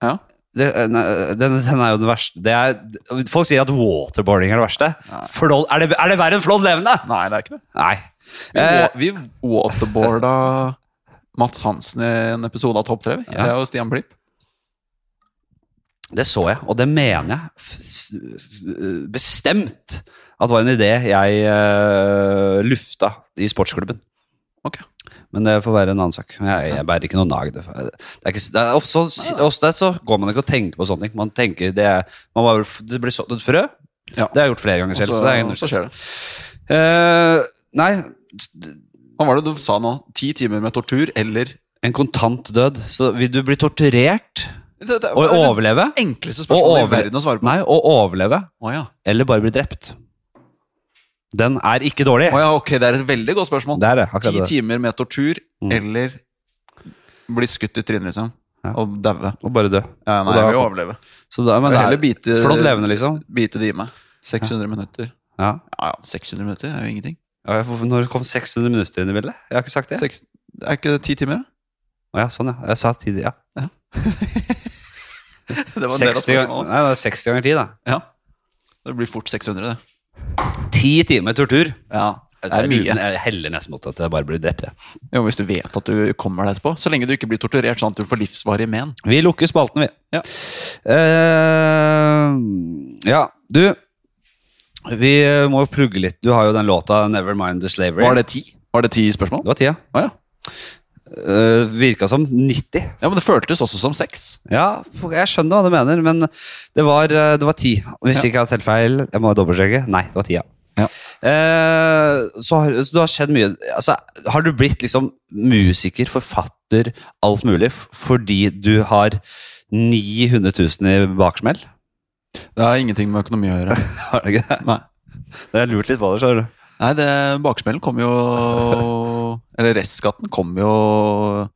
S1: Ja.
S2: Det, eh, nei, den, den er jo den verste. Det er, folk sier at waterboarding er det verste.
S1: Nei.
S2: Flådd- er, det, er det verre enn flådd levende?
S1: Nei, det er ikke det.
S2: Nei.
S1: Vi,
S2: Eh,
S1: wa- vi waterboarda Mats Hansen i en episode av Topp 3.
S2: Ja.
S1: Det er jo Stian Blipp.
S2: det så jeg, og det mener jeg f- s- s- bestemt at var en idé jeg eh, lufta i sportsklubben.
S1: Ok.
S2: Men det får være en annen sak. Jeg, jeg bærer ikke noe nag. Det er, ikke, det er ofte, så, ofte så går man ikke og tenker på sånne ting. Man tenker det, er- man bare, det blir sådd et frø.
S1: Ja.
S2: Det har jeg gjort flere ganger
S1: Og
S2: selv.
S1: så,
S2: så det er ingen-
S1: så skjer det.
S2: Eh, nei,
S1: Hva var det du sa nå? Ti timer med tortur eller
S2: en kontant død. Så vil du bli torturert
S1: det, det,
S2: og
S1: det, det
S2: overleve?
S1: enkleste spørsmålet
S2: Og
S1: i
S2: over-
S1: verden å svare på.
S2: Nei, og overleve.
S1: Å ja.
S2: Eller bare bli drept. Den er ikke dårlig.
S1: Å ja, ok, det er et veldig godt spørsmål.
S2: Det er det. akkurat
S1: Ti
S2: det.
S1: timer med tortur
S2: Mm.
S1: eller bli skutt i trynet, liksom.
S2: Ja.
S1: Og daue.
S2: Og bare dø.
S1: Ja,
S2: Og
S1: nei,
S2: da-
S1: jeg vil jo overleve.
S2: Så da,
S1: Men
S2: men det
S1: heller
S2: er
S1: bite,
S2: flott levende, liksom.
S1: bite det i meg. 600 minutter.
S2: Ja.
S1: Ja, ja, 600 minutter er jo ingenting.
S2: Ja, hvorfor- Når kom 600 minutter inn i bildet? Jeg har ikke sagt det.
S1: Seks, er ikke det ti timer, da?
S2: Å ja, sånn, ja. Jeg sa tid, ja.
S1: Det var en del av
S2: 60, ganger-
S1: spørsmålet.
S2: nei, det er 60 ganger 10, da.
S1: Ja. Det blir fort 600, det.
S2: 10 timer tortur.
S1: Ja, det er
S2: Jeg
S1: mye.
S2: jeg heller nesten mot at jeg bare blir drept. Jeg.
S1: Jo, hvis du vet at du kommer deg etterpå. Så lenge du ikke blir torturert sånn at du får livsvarig men.
S2: Vi lukker spalten, vi.
S1: Ja.
S2: Eh, ja, du Vi må jo plugge litt. Du har jo den låta 'Never Mind The Slavery'.
S1: Var det ti? Var det ti spørsmål?
S2: Det var tida.
S1: Å ja.
S2: Uh, virka som 90.
S1: ja, men det føltes også som seks.
S2: Ja, jeg skjønner hva du mener, men det var, eh, det var 10. Hvis ikke jeg har telt feil, jeg må dobbeltsjekke. Nei, det var 10, ja.
S1: Ja.
S2: Eh, så, har, så du har skjedd mye altså, Har du blitt liksom musiker, forfatter, alt mulig f- fordi du har 900 000 i baksmell?
S1: Det har ingenting med økonomi å gjøre.
S2: Har du ikke det?
S1: Nei.
S2: Det er lurt litt på det, skjønner du.
S1: Nei, det, baksmellen kom jo Eller restskatten kom jo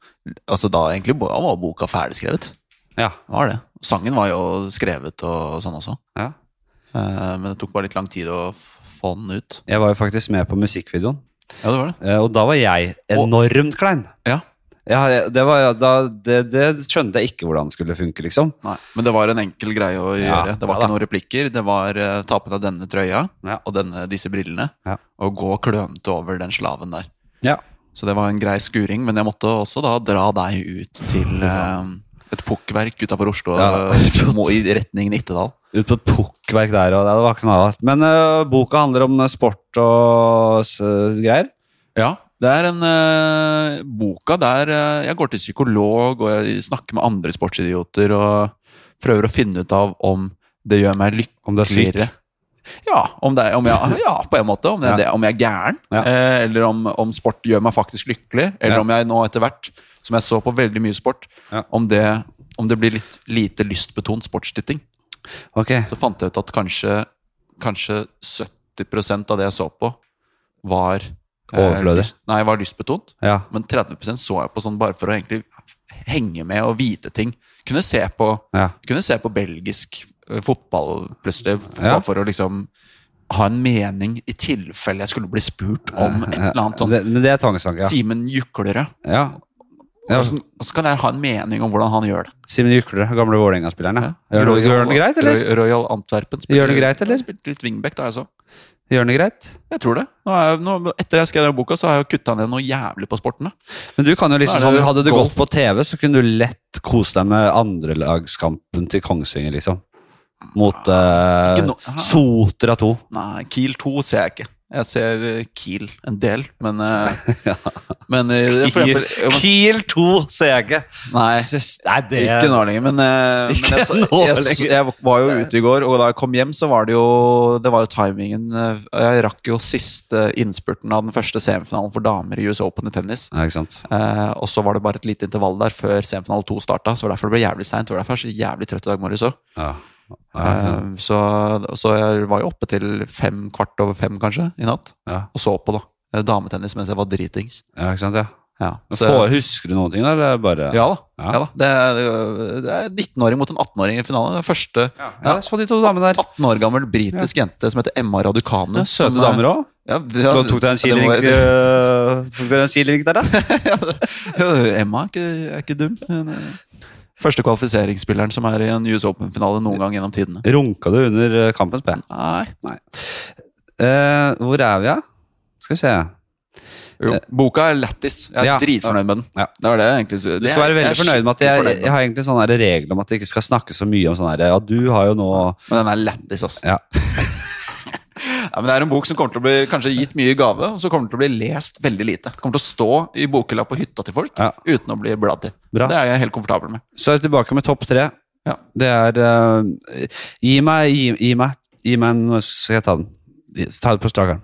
S1: Altså da egentlig bo- var boka ferdigskrevet.
S2: Ja.
S1: Det Var det. Sangen var jo skrevet og sånn også.
S2: ja.
S1: Eh, Men det tok bare litt lang tid å f- få den ut.
S2: Jeg var jo faktisk med på musikkvideoen,
S1: Ja, det var det.
S2: eh, og da var jeg enormt klein.
S1: Ja.
S2: Ja, det, var, da, det, det skjønte jeg ikke hvordan skulle funke, liksom.
S1: Nei, men det var en enkel greie å
S2: Ja,
S1: gjøre. Det
S2: ja
S1: var
S2: da.
S1: ikke noen replikker. Det var eh, ta på deg denne trøya
S2: Ja.
S1: og denne, disse brillene
S2: Ja.
S1: og gå klønete over den slaven der.
S2: Ja.
S1: Så det var en grei skuring, men jeg måtte også da dra deg ut til eh, et pukkverk utafor Oslo,
S2: Ja.
S1: eh, må- i retning Nittedal.
S2: Ut på et pukkverk der, og ja, det var ikke noe annet. Men øh, boka handler om øh, sport og s- greier.
S1: Ja, det er en eh, boka der eh, jeg går til psykolog og jeg snakker med andre sportsidioter og prøver å finne ut av om det gjør meg lykkelig.
S2: Om du er syk.
S1: Klirre. Ja, om det, er- om jeg, ja, på en måte. Om, det, er det, om jeg er gæren,
S2: Ja.
S1: eh, eller om, om sport gjør meg faktisk lykkelig. Eller
S2: Ja.
S1: om jeg nå etter hvert, som jeg så på veldig mye sport,
S2: Ja.
S1: om, det, om det blir litt lite lystbetont sportstitting.
S2: Ok.
S1: Så fant jeg ut at kanskje, kanskje 70 av det jeg så på, var eh,
S2: Overflødig.
S1: lyst, nei, var lystbetont.
S2: Ja.
S1: Men 30 så jeg på sånn bare for å egentlig henge med og vite ting. Kunne se på
S2: ja.
S1: kunne se på belgisk eh, fotball plutselig, f-
S2: Ja.
S1: bare for å liksom ha en mening i tilfelle jeg skulle bli spurt om et eller annet sånn
S2: Det, men det er tvangstanke, ja.
S1: Simen Juklerød.
S2: ja. Ja.
S1: Og så- og så kan jeg ha en mening om hvordan han gjør det.
S2: Simen Juklerød, gamle Vålerenga-spilleren. Ja.
S1: Ja.
S2: Gjør han- gjør han det greit, eller?
S1: Roy- Royal Antwerpen
S2: Gjør han det greit, eller?
S1: spilte litt wingback da, jeg så.
S2: Gjør han det greit?
S1: Jeg tror det. Nå er jeg, nå, etter jeg skrev den boka, så har jeg jo kutta ned noe jævlig på sporten. da.
S2: Men du kan jo liksom
S1: Da er det
S2: sånn, Hadde du
S1: golf.
S2: gått på TV, så kunne du lett kose deg med andrelagskampen til Kongsvinger, liksom. Mot eh,
S1: Ikke nå-
S2: Sotra 2.
S1: Nei, Kiel 2 ser jeg ikke. Jeg ser eh, Kiel en del, men eh, Men eh, for
S2: Kiel,
S1: eksempel ja, men-
S2: Kiel 2 ser jeg ikke.
S1: Nei.
S2: Syns- Nei, det
S1: Ikke nå lenger, men, eh,
S2: Ikke
S1: men jeg, så-
S2: nå
S1: jeg, så-
S2: lenger.
S1: jeg var jo ute i går, og da jeg kom hjem, så var det jo Det var jo timingen eh, Jeg rakk jo siste innspurten av den første semifinalen for damer i US Open i tennis.
S2: Nei, ikke sant.
S1: Eh, og så var det bare et lite intervall der før semifinale to starta, så det var derfor det ble jævlig seint. Det var derfor jeg er så jævlig trøtt i dag morges òg.
S2: Ja. Ja,
S1: Eh, så, så jeg var jo oppe til fem, kvart over fem kanskje, i natt,
S2: ja,
S1: og så på, da. eh, Dametennis mens jeg var dritings.
S2: ja, ikke sant, ja.
S1: Ja,
S2: Men
S1: så-
S2: får, husker du noen ting, da, eller er det bare
S1: ja da.
S2: Ja.
S1: Ja. da. Det, er- det er 19-åring mot en 18-åring i finalen. Det er første
S2: Ja, jeg så de to damene der.
S1: 18 år gammel britisk jente som heter Emma Raducanu.
S2: Ja, søte
S1: som er-
S2: damer òg.
S1: Ja,
S2: Så tok deg en kilevink
S1: det
S2: øh, Tok dere en kilevink der, da?
S1: var- ja, Emma er ikke, er ikke dum. Hun er- Første kvalifiseringsspilleren som er i en US Open-finale noen gang gjennom tidene.
S2: Runka du under øh, kampen, spør jeg.
S1: Nei.
S2: Eh, hvor er vi, da? Skal vi se.
S1: Jo, boka er lættis. Jeg er
S2: Ja.
S1: dritfornøyd med den.
S2: Ja.
S1: Det er det jeg egentlig
S2: Du skal være veldig fornøyd med at jeg, jeg, har egentlig sånne her regler om at jeg ikke skal snakke så mye om sånn her Ja, du har jo nå
S1: Men den er lættis, altså.
S2: Ja.
S1: Ja, men det er en bok som kommer til å bli kanskje gitt mye i gave, og så kommer den til å bli lest veldig lite. Det kommer til å stå i bokhylla på hytta til folk
S2: Ja.
S1: uten å bli bladd i.
S2: Bra.
S1: Det er jeg helt komfortabel med.
S2: Så er vi tilbake med topp tre.
S1: Ja.
S2: Det er eh, Gi meg gi, gi meg, gi meg en Nå skal jeg ta den. Ta det på strak arm.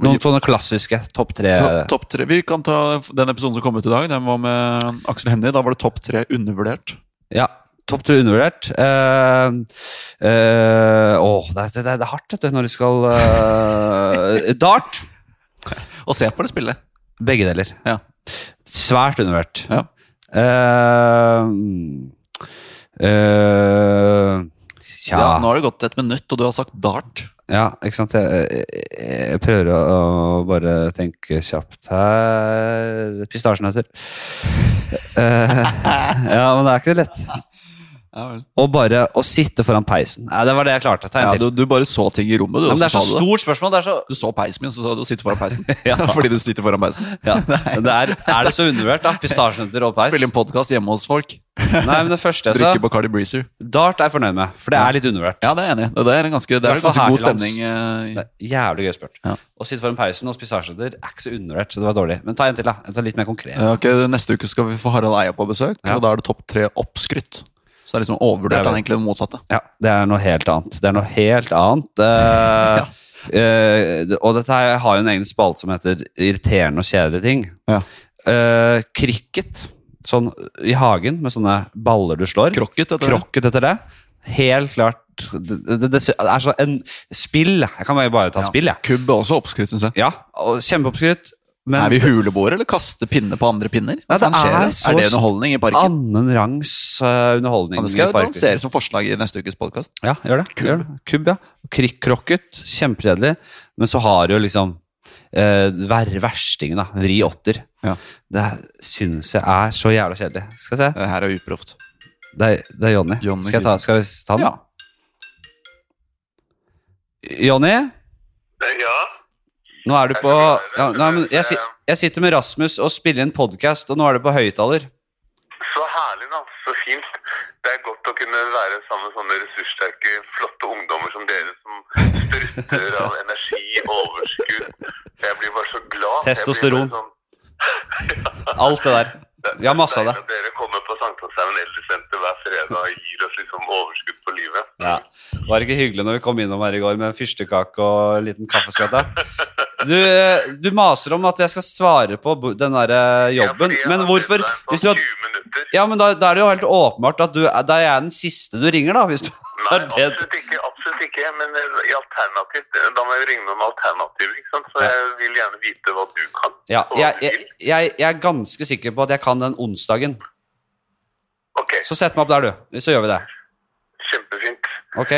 S2: Noen sånne klassiske topp tre
S1: To- Topp tre, Vi kan ta den episoden som kom ut i dag. Den var med Aksel Hennie. Da var det topp tre undervurdert.
S2: Ja. Topp tre undervurdert. Eh, eh, åh, det, er- det, er- det er hardt, vet du, når du skal eh, Dart!
S1: Og se på det spillet.
S2: Begge deler.
S1: Ja.
S2: Svært undervurdert.
S1: Ja.
S2: Eh, eh,
S1: Ja.
S2: tja
S1: Nå har det gått et minutt, og du har sagt dart.
S2: Ja, ikke sant. Jeg, jeg, jeg prøver å, å bare tenke kjapt her Pistasjenøtter. Eh, ja, men det er ikke lett.
S1: Ja, vel.
S2: Og bare å sitte foran peisen. Nei, det var det jeg klarte. Ta en
S1: Ja,
S2: til.
S1: du, du bare så ting i rommet, du.
S2: Ja,
S1: og
S2: men det er
S1: så
S2: så
S1: sa du det.
S2: stort spørsmål. Det er, så,
S1: Du så peisen min, så sa du sitter foran peisen.
S2: Ja.
S1: Fordi du sitter foran peisen.
S2: ja. Men det er, er det så undervurdert, da? Pistasjenøtter og peis?
S1: Spille en podkast hjemme hos folk.
S2: Nei, men det første jeg sa,
S1: Drikke Bacardi Breezer.
S2: dart er jeg fornøyd med, for det er litt undervurdert.
S1: Ja, det er jeg enig. i. Det er en ganske, det er
S2: I
S1: en
S2: hvert fall
S1: ganske
S2: her
S1: god
S2: til lands.
S1: stemning. eh, i-
S2: Det er jævlig gøy spurt.
S1: Ja.
S2: Å sitte foran peisen hos pistasjenøtter er ikke så undervurdert, så det var dårlig. Men ta en til, da. En til litt mer konkret.
S1: Ja, ok, Neste uke skal vi få Harald Eia på besøk,
S2: Ja.
S1: og da er det topp tre oppskrytt. Så det er liksom
S2: Det er
S1: overvurdert. Det
S2: det.
S1: er egentlig det motsatte.
S2: Ja, det er noe helt annet. Det er noe helt annet. eh, eh, det- og dette her har jo en egen spalte som heter Irriterende og kjedelige ting.
S1: Ja.
S2: Eh, cricket, sånn i hagen med sånne baller du slår.
S1: Krokket, heter det.
S2: Krokket etter det. Helt klart det, det, det, det er så en spill. Jeg kan bare ta
S1: Ja.
S2: spill, jeg.
S1: Kubb er også oppskrytt, syns jeg.
S2: Ja, og kjempeoppskrytt. Men
S1: er vi huleboere, eller kaste pinne på andre pinner?
S2: Nei, det
S1: Hva skjer
S2: er
S1: her?
S2: så
S1: er det underholdning i parken?
S2: annen rangs eh, underholdning.
S1: Ja, det skal
S2: i
S1: jeg
S2: parker.
S1: lansere som forslag i neste ukes podkast.
S2: Ja, gjør det. Kubb, gjør det. Kubb ja. Krikk-krokket, kjempekjedelig. Men så har du jo liksom eh, ver, versting, da. Vri åtter.
S1: Ja.
S2: Det syns jeg er så jævla kjedelig. Skal vi se.
S1: Det Eh, her er uproft.
S2: Det er, det er Jonny.
S1: Jonny
S2: Skal, jeg ta- skal vi ta den?
S1: Ja.
S2: Jonny,
S3: Eh, Ja.
S2: nå er du på ja, nei, men jeg, si- jeg sitter med Rasmus og spiller inn podkast, og nå er du på høyttaler.
S3: Så herlig, da. Så fint. Det er godt å kunne være sammen med sånne ressurssterke, flotte ungdommer som dere, som strutter av energi og overskudd. Jeg blir bare så glad. Jeg blir
S2: Testosteron.
S3: bare sånn-
S2: Alt det der. Vi har masse av det.
S3: Deilig at Dere kommer på Sankthanshaugen eldresenter hver fredag og gir oss liksom overskudd på livet.
S2: Ja. Det var ikke hyggelig når vi kom innom her i går med en fyrstekake og en liten kaffeskvett. der. Du, eh, du maser om at jeg skal svare på bo- den derre jobben, men hvorfor hvis du har,
S3: sånn minutter.
S2: Ja, men da, da er det jo helt åpenbart at du, da er jeg den siste du ringer, da. Hvis du har
S3: Nei,
S2: det.
S3: absolutt ikke. absolutt ikke, Men eh, i alternativ, da må jeg ringe noen alternativer. ikke sant? Så jeg vil gjerne vite hva du kan.
S2: Ja,
S3: og hva
S2: jeg,
S3: du
S2: jeg,
S3: vil.
S2: jeg, jeg er ganske sikker på at jeg kan den onsdagen.
S3: Ok,
S2: Så sett meg opp der, du. Så gjør vi det.
S3: kjempefint.
S2: Ok.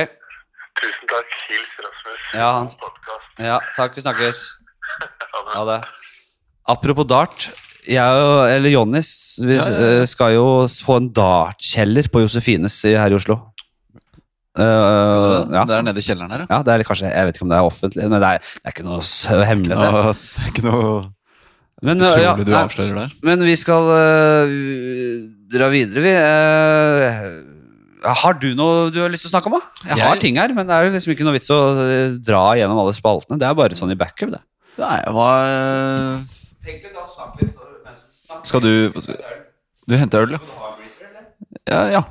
S3: Tusen takk. Hils Rasmus.
S2: Ja, han-
S3: God podcast.
S2: Ja, takk. Vi snakkes.
S3: Ha det.
S2: Ha det. Apropos dart. Jeg og eller Jonnis vi
S1: Ja, ja, ja.
S2: eh, skal jo s- få en dartkjeller på Josefines i- her i Oslo. Eh, ja.
S1: Det er nede i kjelleren her, ja.
S2: ja, det er kanskje Jeg vet ikke om det er offentlig, men det er, det er ikke noe s- hemmelig. Det.
S1: Nå, det er ikke noe
S2: Men, eh, ja,
S1: utrolig du
S2: nei,
S1: avslører der.
S2: Men vi skal øh, dra videre, vi. Eh, har du noe du har lyst til å snakke om? da? Jeg har
S1: Jeg-
S2: ting her, men det er liksom ikke noe vits å øh, dra gjennom alle spaltene. Det er bare sånn i backup, det.
S1: Nei, hva Skal du- Du henter øl, ja? Ja. ja.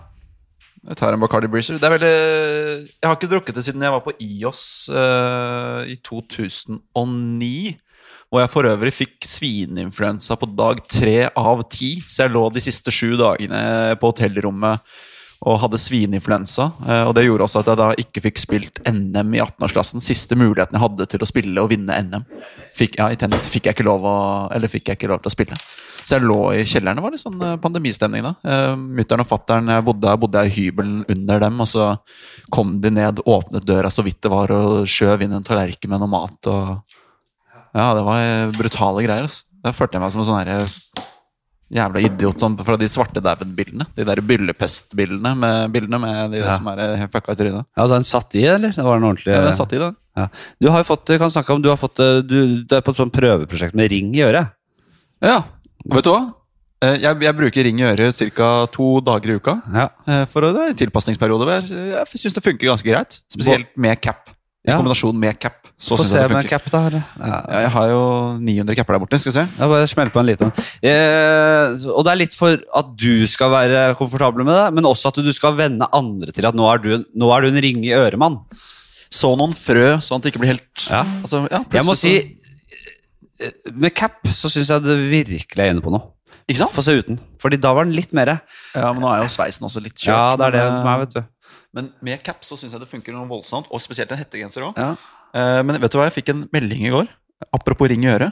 S1: Jeg tar en Bacardi Breezer. Det er veldig Jeg har ikke drukket det siden jeg var på IOS eh, i 2009. Og jeg for øvrig fikk svineinfluensa på dag tre av ti, så jeg lå de siste sju dagene på hotellrommet og hadde svineinfluensa. eh, Og det gjorde også at jeg da ikke fikk spilt NM i 18-årsklassen. Siste muligheten jeg hadde til å spille og vinne NM. Fikk, ja, I tennis fikk jeg ikke lov, å, eller fikk jeg ikke lov til å spille. Så jeg lå i kjelleren. Det var litt sånn eh, pandemistemning da. Mutter'n og fatter'n eh, bodde der, bodde jeg i hybelen under dem. Og så kom de ned, åpnet døra så vidt det var, og skjøv inn en tallerken med noe mat. og... Ja, det var eh, brutale greier. Altså. Der følte jeg meg som en sånn herre Jævla idiot sånn, fra de svartedauden-bildene. De der byllepest-bildene med, bildene med de
S2: Ja.
S1: som er eh, helt fucka i trynet.
S2: Ja, den satt i, eller? Det var den ordentlige
S1: Ja, den satt i den.
S2: Ja. Du har jo fått, du kan snakke om, du har fått øh, Du, du er på et sånt prøveprosjekt med ring i øret.
S1: Ja, vet du hva? Eh, Jeg, jeg bruker ring i øret ca. to dager i uka.
S2: Ja.
S1: eh, For å- det er en tilpasningsperiode. hvor Jeg, jeg syns det funker ganske greit. Spesielt med cap. I
S2: Ja.
S1: kombinasjon med cap. Så
S2: Få
S1: synes jeg
S2: se
S1: det
S2: med
S1: funker.
S2: cap, da. eller? Ja.
S1: Ja, jeg har jo 900 capper der borte. Skal vi se.
S2: Ja, bare smell på en liten. Eh, og det er litt for at du skal være komfortabel med det, men også at du skal venne andre til at nå er du, en- nå er du en ringe i øremann.
S1: Så noen frø, sånn at det ikke blir helt
S2: Ja.
S1: altså, ja,
S2: Jeg må
S1: plutselig
S2: si,
S1: så-
S2: eh, med cap så syns jeg det virkelig er inne på noe.
S1: Ikke sant?
S2: Få se uten. Fordi da var den litt mer
S1: Ja, men nå er jo sveisen også litt kjørt.
S2: Ja, det er det
S1: men, eh,
S2: som er, vet du.
S1: Men med cap så syns jeg det funker noe voldsomt. Og spesielt en hettegenser òg.
S2: Ja.
S1: Eh, Men vet du hva, jeg fikk en melding i går, apropos ring i øret.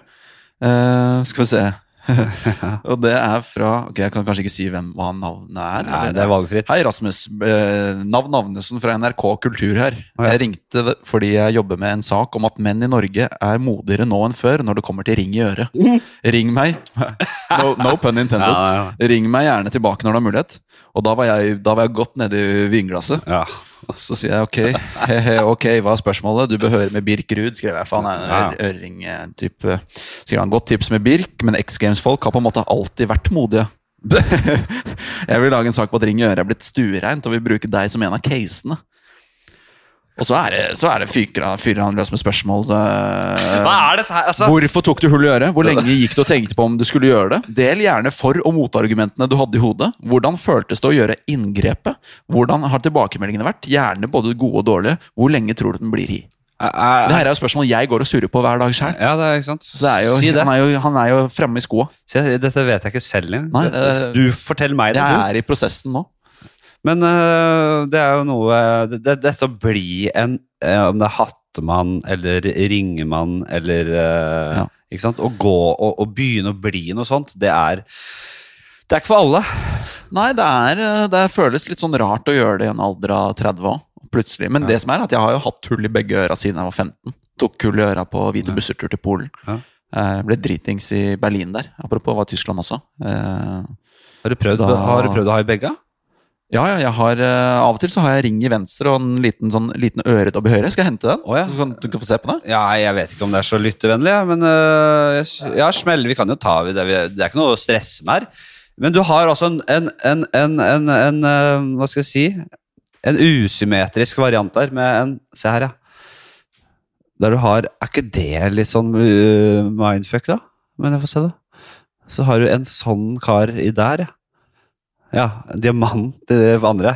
S1: Eh, skal vi se. og det er fra Ok, Jeg kan kanskje ikke si hvem, hva navnet er.
S2: Nei,
S1: eller?
S2: det er valgfritt.
S1: Hei, Rasmus. Eh, Navn Navnesen fra NRK Kultur her.
S2: Å, ja.
S1: Jeg ringte det fordi jeg jobber med en sak om at menn i Norge er modigere nå enn før når det kommer til ring i øret. Ring meg. No, no pun intended.
S2: Oh! Ja,
S1: Ring meg gjerne tilbake når du har mulighet. Og da var jeg, da var jeg godt nedi vinglasset.
S2: ja.
S1: Så sier jeg ok, hehe, ok, hva er spørsmålet? Du bør høre med Birk Ruud, skrev jeg. For han er eh, en ør- ørring-type. Sier han godt tips med Birk, men X Games-folk har på en måte alltid vært modige. jeg vil lage en sak på at Ring i øret er blitt stuereint, og vil bruke deg som en av casene. Og så er det, så er det fyker, han- fyrer han løs med spørsmål. eh,
S2: Hva er dette her? Altså,
S1: Hvorfor tok du hull i øret? Hvor lenge gikk du og tenkte på om du skulle gjøre det? Del gjerne for- og motargumentene du hadde i hodet. Hvordan føltes det å gjøre inngrepet? Hvordan har tilbakemeldingene vært? Gjerne både gode og dårlige. Hvor lenge tror du den blir i?
S2: er-
S1: Det her er jo spørsmål jeg går og surrer på hver dag sjøl.
S2: Eh, ja, det er ikke sant.
S1: Så det er jo,
S2: si det.
S1: Han, er jo, han er jo fremme i skoa.
S2: Si, dette vet jeg ikke selv engang.
S1: Nei, eh, det-
S2: Du fortell meg det.
S1: Jeg
S2: du.
S1: er i prosessen nå.
S2: Men øh, det er jo noe det, det, Dette å bli en øh, Om det er hattemann eller ringemann eller øh,
S1: Ja.
S2: Ikke sant? Å gå og, og begynne å bli noe sånt, det er Det er ikke for alle.
S1: Nei, det, er, eh, det føles litt sånn rart å gjøre det i en alder av 30 òg. Plutselig. Men det som er at jeg har jo hatt hull i begge øra siden jeg var 15. Tok kull i øra på hvite bussertur til Polen.
S2: Ja.
S1: Eh, ble dritings i Berlin der. Apropos var Tyskland også. Eh,
S2: Har du prøvd,
S1: Da-
S2: har du prøvd å ha i begge?
S1: ja, ja, jeg har eh, Av og til så har jeg ring i venstre og en liten, sånn, liten øredobb i høyre. Skal jeg hente den?
S2: Å, ja.
S1: Så kan du kan få se på det?
S2: Ja, jeg vet ikke om det er så lyttevennlig, jeg, men øh, jeg- ja, smell, vi kan jo ta det. vi- Det er ikke noe å stresse med her. Men du har altså en, en, en, en, en, en øh, Hva skal jeg si? En usymmetrisk variant der med en Se her, ja. Der du har Er ikke det litt sånn øh, mindfuck, da? Men jeg får se, da. Så har du en sånn kar i der, ja. Ja, en diamant i det andre.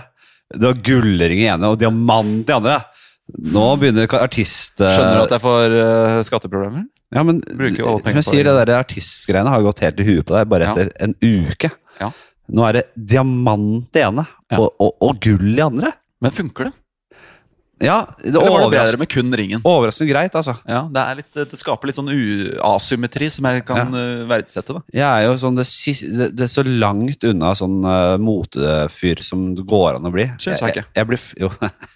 S2: Du har gullring i ene og diamant i andre. Nå begynner ka- artist... øh,
S1: Skjønner du at jeg får eh, skatteproblemer?
S2: ja, men
S1: Bruker jo alle
S2: som
S1: penger
S2: jeg
S1: på
S2: sier,
S1: det.
S2: det der artistgreiene har jo gått helt i huet på deg bare
S1: Ja.
S2: etter en uke.
S1: Ja.
S2: Nå er det diamant i ene
S1: Ja.
S2: og, og, og gull i andre.
S1: Men funker det?
S2: Ja, det
S1: Eller var det
S2: overrasker,
S1: bedre med kun ringen?
S2: overraskende greit, altså.
S1: Ja, det, er litt, det skaper litt sånn u asymmetri som jeg kan eh, verdsette. da.
S2: Jeg er jo sånn det, sis- det, det er så langt unna sånn eh, motefyr som det går an å bli.
S1: Syns jeg ikke.
S2: Jeg, jeg blir f- jo.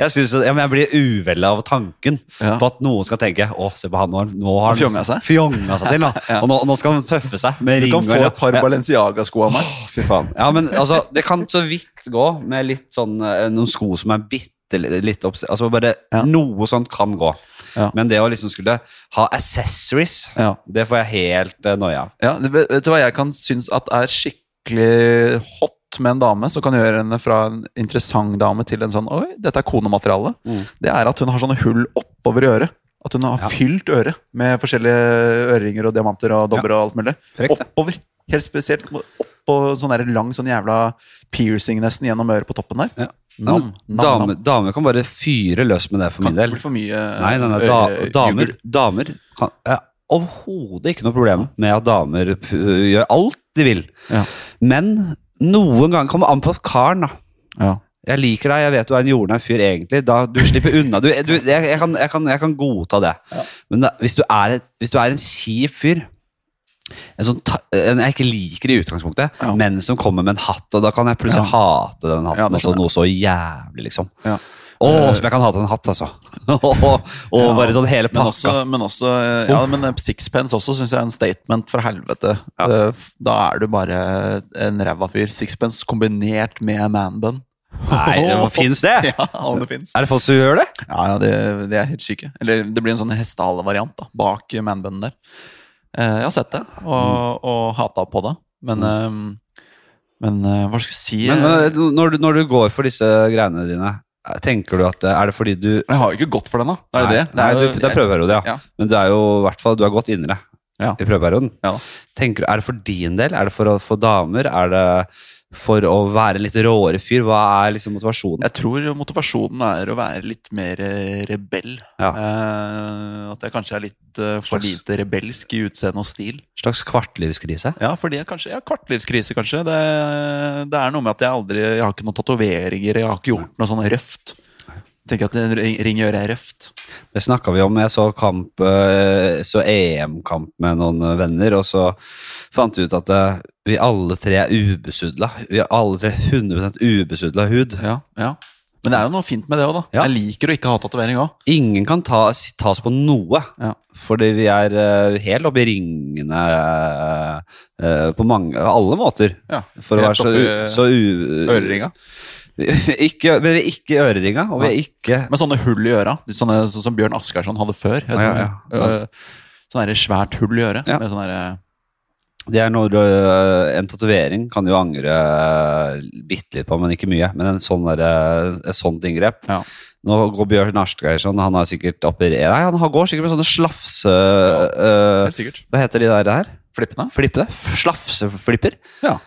S2: jeg, synes, at- ja, men jeg blir uvel av tanken
S1: Ja.
S2: på at noen skal tenke Å, se på han, nå har han- nå har
S1: Han fjonga seg."
S2: fjonga seg til. Nå. Og nå, nå skal han tøffe seg med
S1: Du
S2: ring
S1: kan få
S2: og
S1: et par
S2: Ja.
S1: Balenciaga-sko av meg.
S2: Fy faen. Ja, men altså, det kan så vidt gå med litt sånn eh, noen sko som er bitte li- litt opp... Altså bare
S1: Ja.
S2: noe sånt kan gå.
S1: Ja.
S2: Men det å liksom skulle ha accessories,
S1: Ja.
S2: det får jeg helt eh, noia av.
S1: Ja, det- vet vet du hva jeg kan synes at er skikkelig hot med en dame, som kan gjøre henne fra en interessant dame til en sånn Oi, dette er konemateriale.
S2: Mm.
S1: Det er at hun har sånne hull oppover i øret. At hun har
S2: Ja.
S1: fylt øret med forskjellige øreringer og diamanter og dobber og alt mulig.
S2: Frekt, det.
S1: Oppover. Helt spesielt må- oppå sånn der lang sånn jævla piercing nesten gjennom øret på toppen der.
S2: Ja.
S1: Nam, nam,
S2: Damer
S1: nam.
S2: damer kan bare fyre løs med det for
S1: Kan
S2: min
S1: ikke
S2: del.
S1: bli for mye
S2: Nei, nei, nei da,
S1: Eh,
S2: damer, damer kan jeg har overhodet ikke noe problem med at damer f- gjør alt de vil.
S1: Ja.
S2: Men noen ganger kommer det an på karen, da.
S1: Ja.
S2: Jeg liker deg, jeg vet du er en jordnær fyr egentlig. Da, du slipper unna. Du, du, jeg, jeg, kan, jeg, kan, jeg kan godta det. Men da, hvis, du er, et- hvis du er en kjip fyr, en, sånn, ta- en jeg ikke liker i utgangspunktet,
S1: Ja.
S2: men som kommer med en hatt, og da kan jeg plutselig hate den hatten.
S1: Ja, det
S2: altså,
S1: skjønner jeg.
S2: noe så jævlig, liksom.
S1: Ja.
S2: Å, som jeg kan hate en hatt, altså. og og
S1: Ja.
S2: bare sånn hele
S1: Men
S2: pakka.
S1: også, men også eh, ja, men eh, sixpence også syns jeg er en statement fra helvete.
S2: Ja.
S1: Eh, f- Da er du bare en ræva fyr. Sixpence kombinert med manbun.
S2: Nei, hva fins det?
S1: Ja, om det fins.
S2: Er det folk som gjør det?
S1: Ja, ja, det, det er helt syke. Eller det blir en sånn hestehale-variant da, bak manbunnen der. Eh, Jeg har sett det, og, og hata på det. Men, eh, men eh, hva skal jeg si?
S2: Men eh, når, du, når du går for disse greiene dine, tenker du at eh, Er det fordi du
S1: jeg har jo ikke gått for den, da. Er det det?
S2: Nei, nei, du, det er prøveperiode, ja.
S1: Ja.
S2: Men du er jo i hvert fall Du har gått indre
S1: Ja.
S2: i prøveperioden.
S1: Ja.
S2: Tenker du, Er det for din del? Er det for å få damer? Er det for å være en litt råere fyr? Hva er liksom motivasjonen?
S1: Jeg tror motivasjonen er å være litt mer eh, rebell.
S2: Ja.
S1: Eh, at jeg kanskje er litt eh, for
S2: Slags-
S1: lite rebelsk i utseende og stil.
S2: En slags kvartlivskrise?
S1: Ja, fordi jeg kanskje, jeg har kvartlivskrise, kanskje. Det, det er noe med at jeg aldri Jeg har ikke noen tatoveringer, jeg har ikke gjort noe sånn røft. Tenker at en ring ring i øret er røft.
S2: Det snakka vi om. Jeg så kamp, eh, så EM-kamp med noen eh, venner, og så fant vi ut at eh, vi alle tre er ubesudla. Vi er alle tre 100 ubesudla hud.
S1: Ja, ja. Men det er jo noe fint med det òg, da.
S2: Ja.
S1: Jeg liker å ikke ha tatovering òg.
S2: Ingen kan ta, tas på noe,
S1: Ja.
S2: fordi vi er eh, helt oppe i ringene eh, eh, på mange, alle måter.
S1: Ja,
S2: For å
S1: helt
S2: være så,
S1: oppe i
S2: u, så u,
S1: Øreringa.
S2: ikke, men vi er ikke i øreringa, og vi er ikke
S1: Med sånne hull i øra, de sånne, sånn som Bjørn Asgarsson hadde før. Jeg
S2: Ja,
S1: tror.
S2: ja, ja.
S1: Eh, Sånn der svært hull i øret.
S2: Ja.
S1: Med sånn derre
S2: Det er når øh, en tatovering kan jo angre øh, bitte litt på, men ikke mye. Men en sånn der, øh, et sånt inngrep
S1: Ja.
S2: Nå går Bjørn Arsgeirson, han har sikkert operert Nei, han har- går sikkert med sånne slafse... øh,
S1: Helt sikkert.
S2: hva heter de der? der?
S1: Flippene.
S2: Flippene? F- Slafseflipper?
S1: Ja.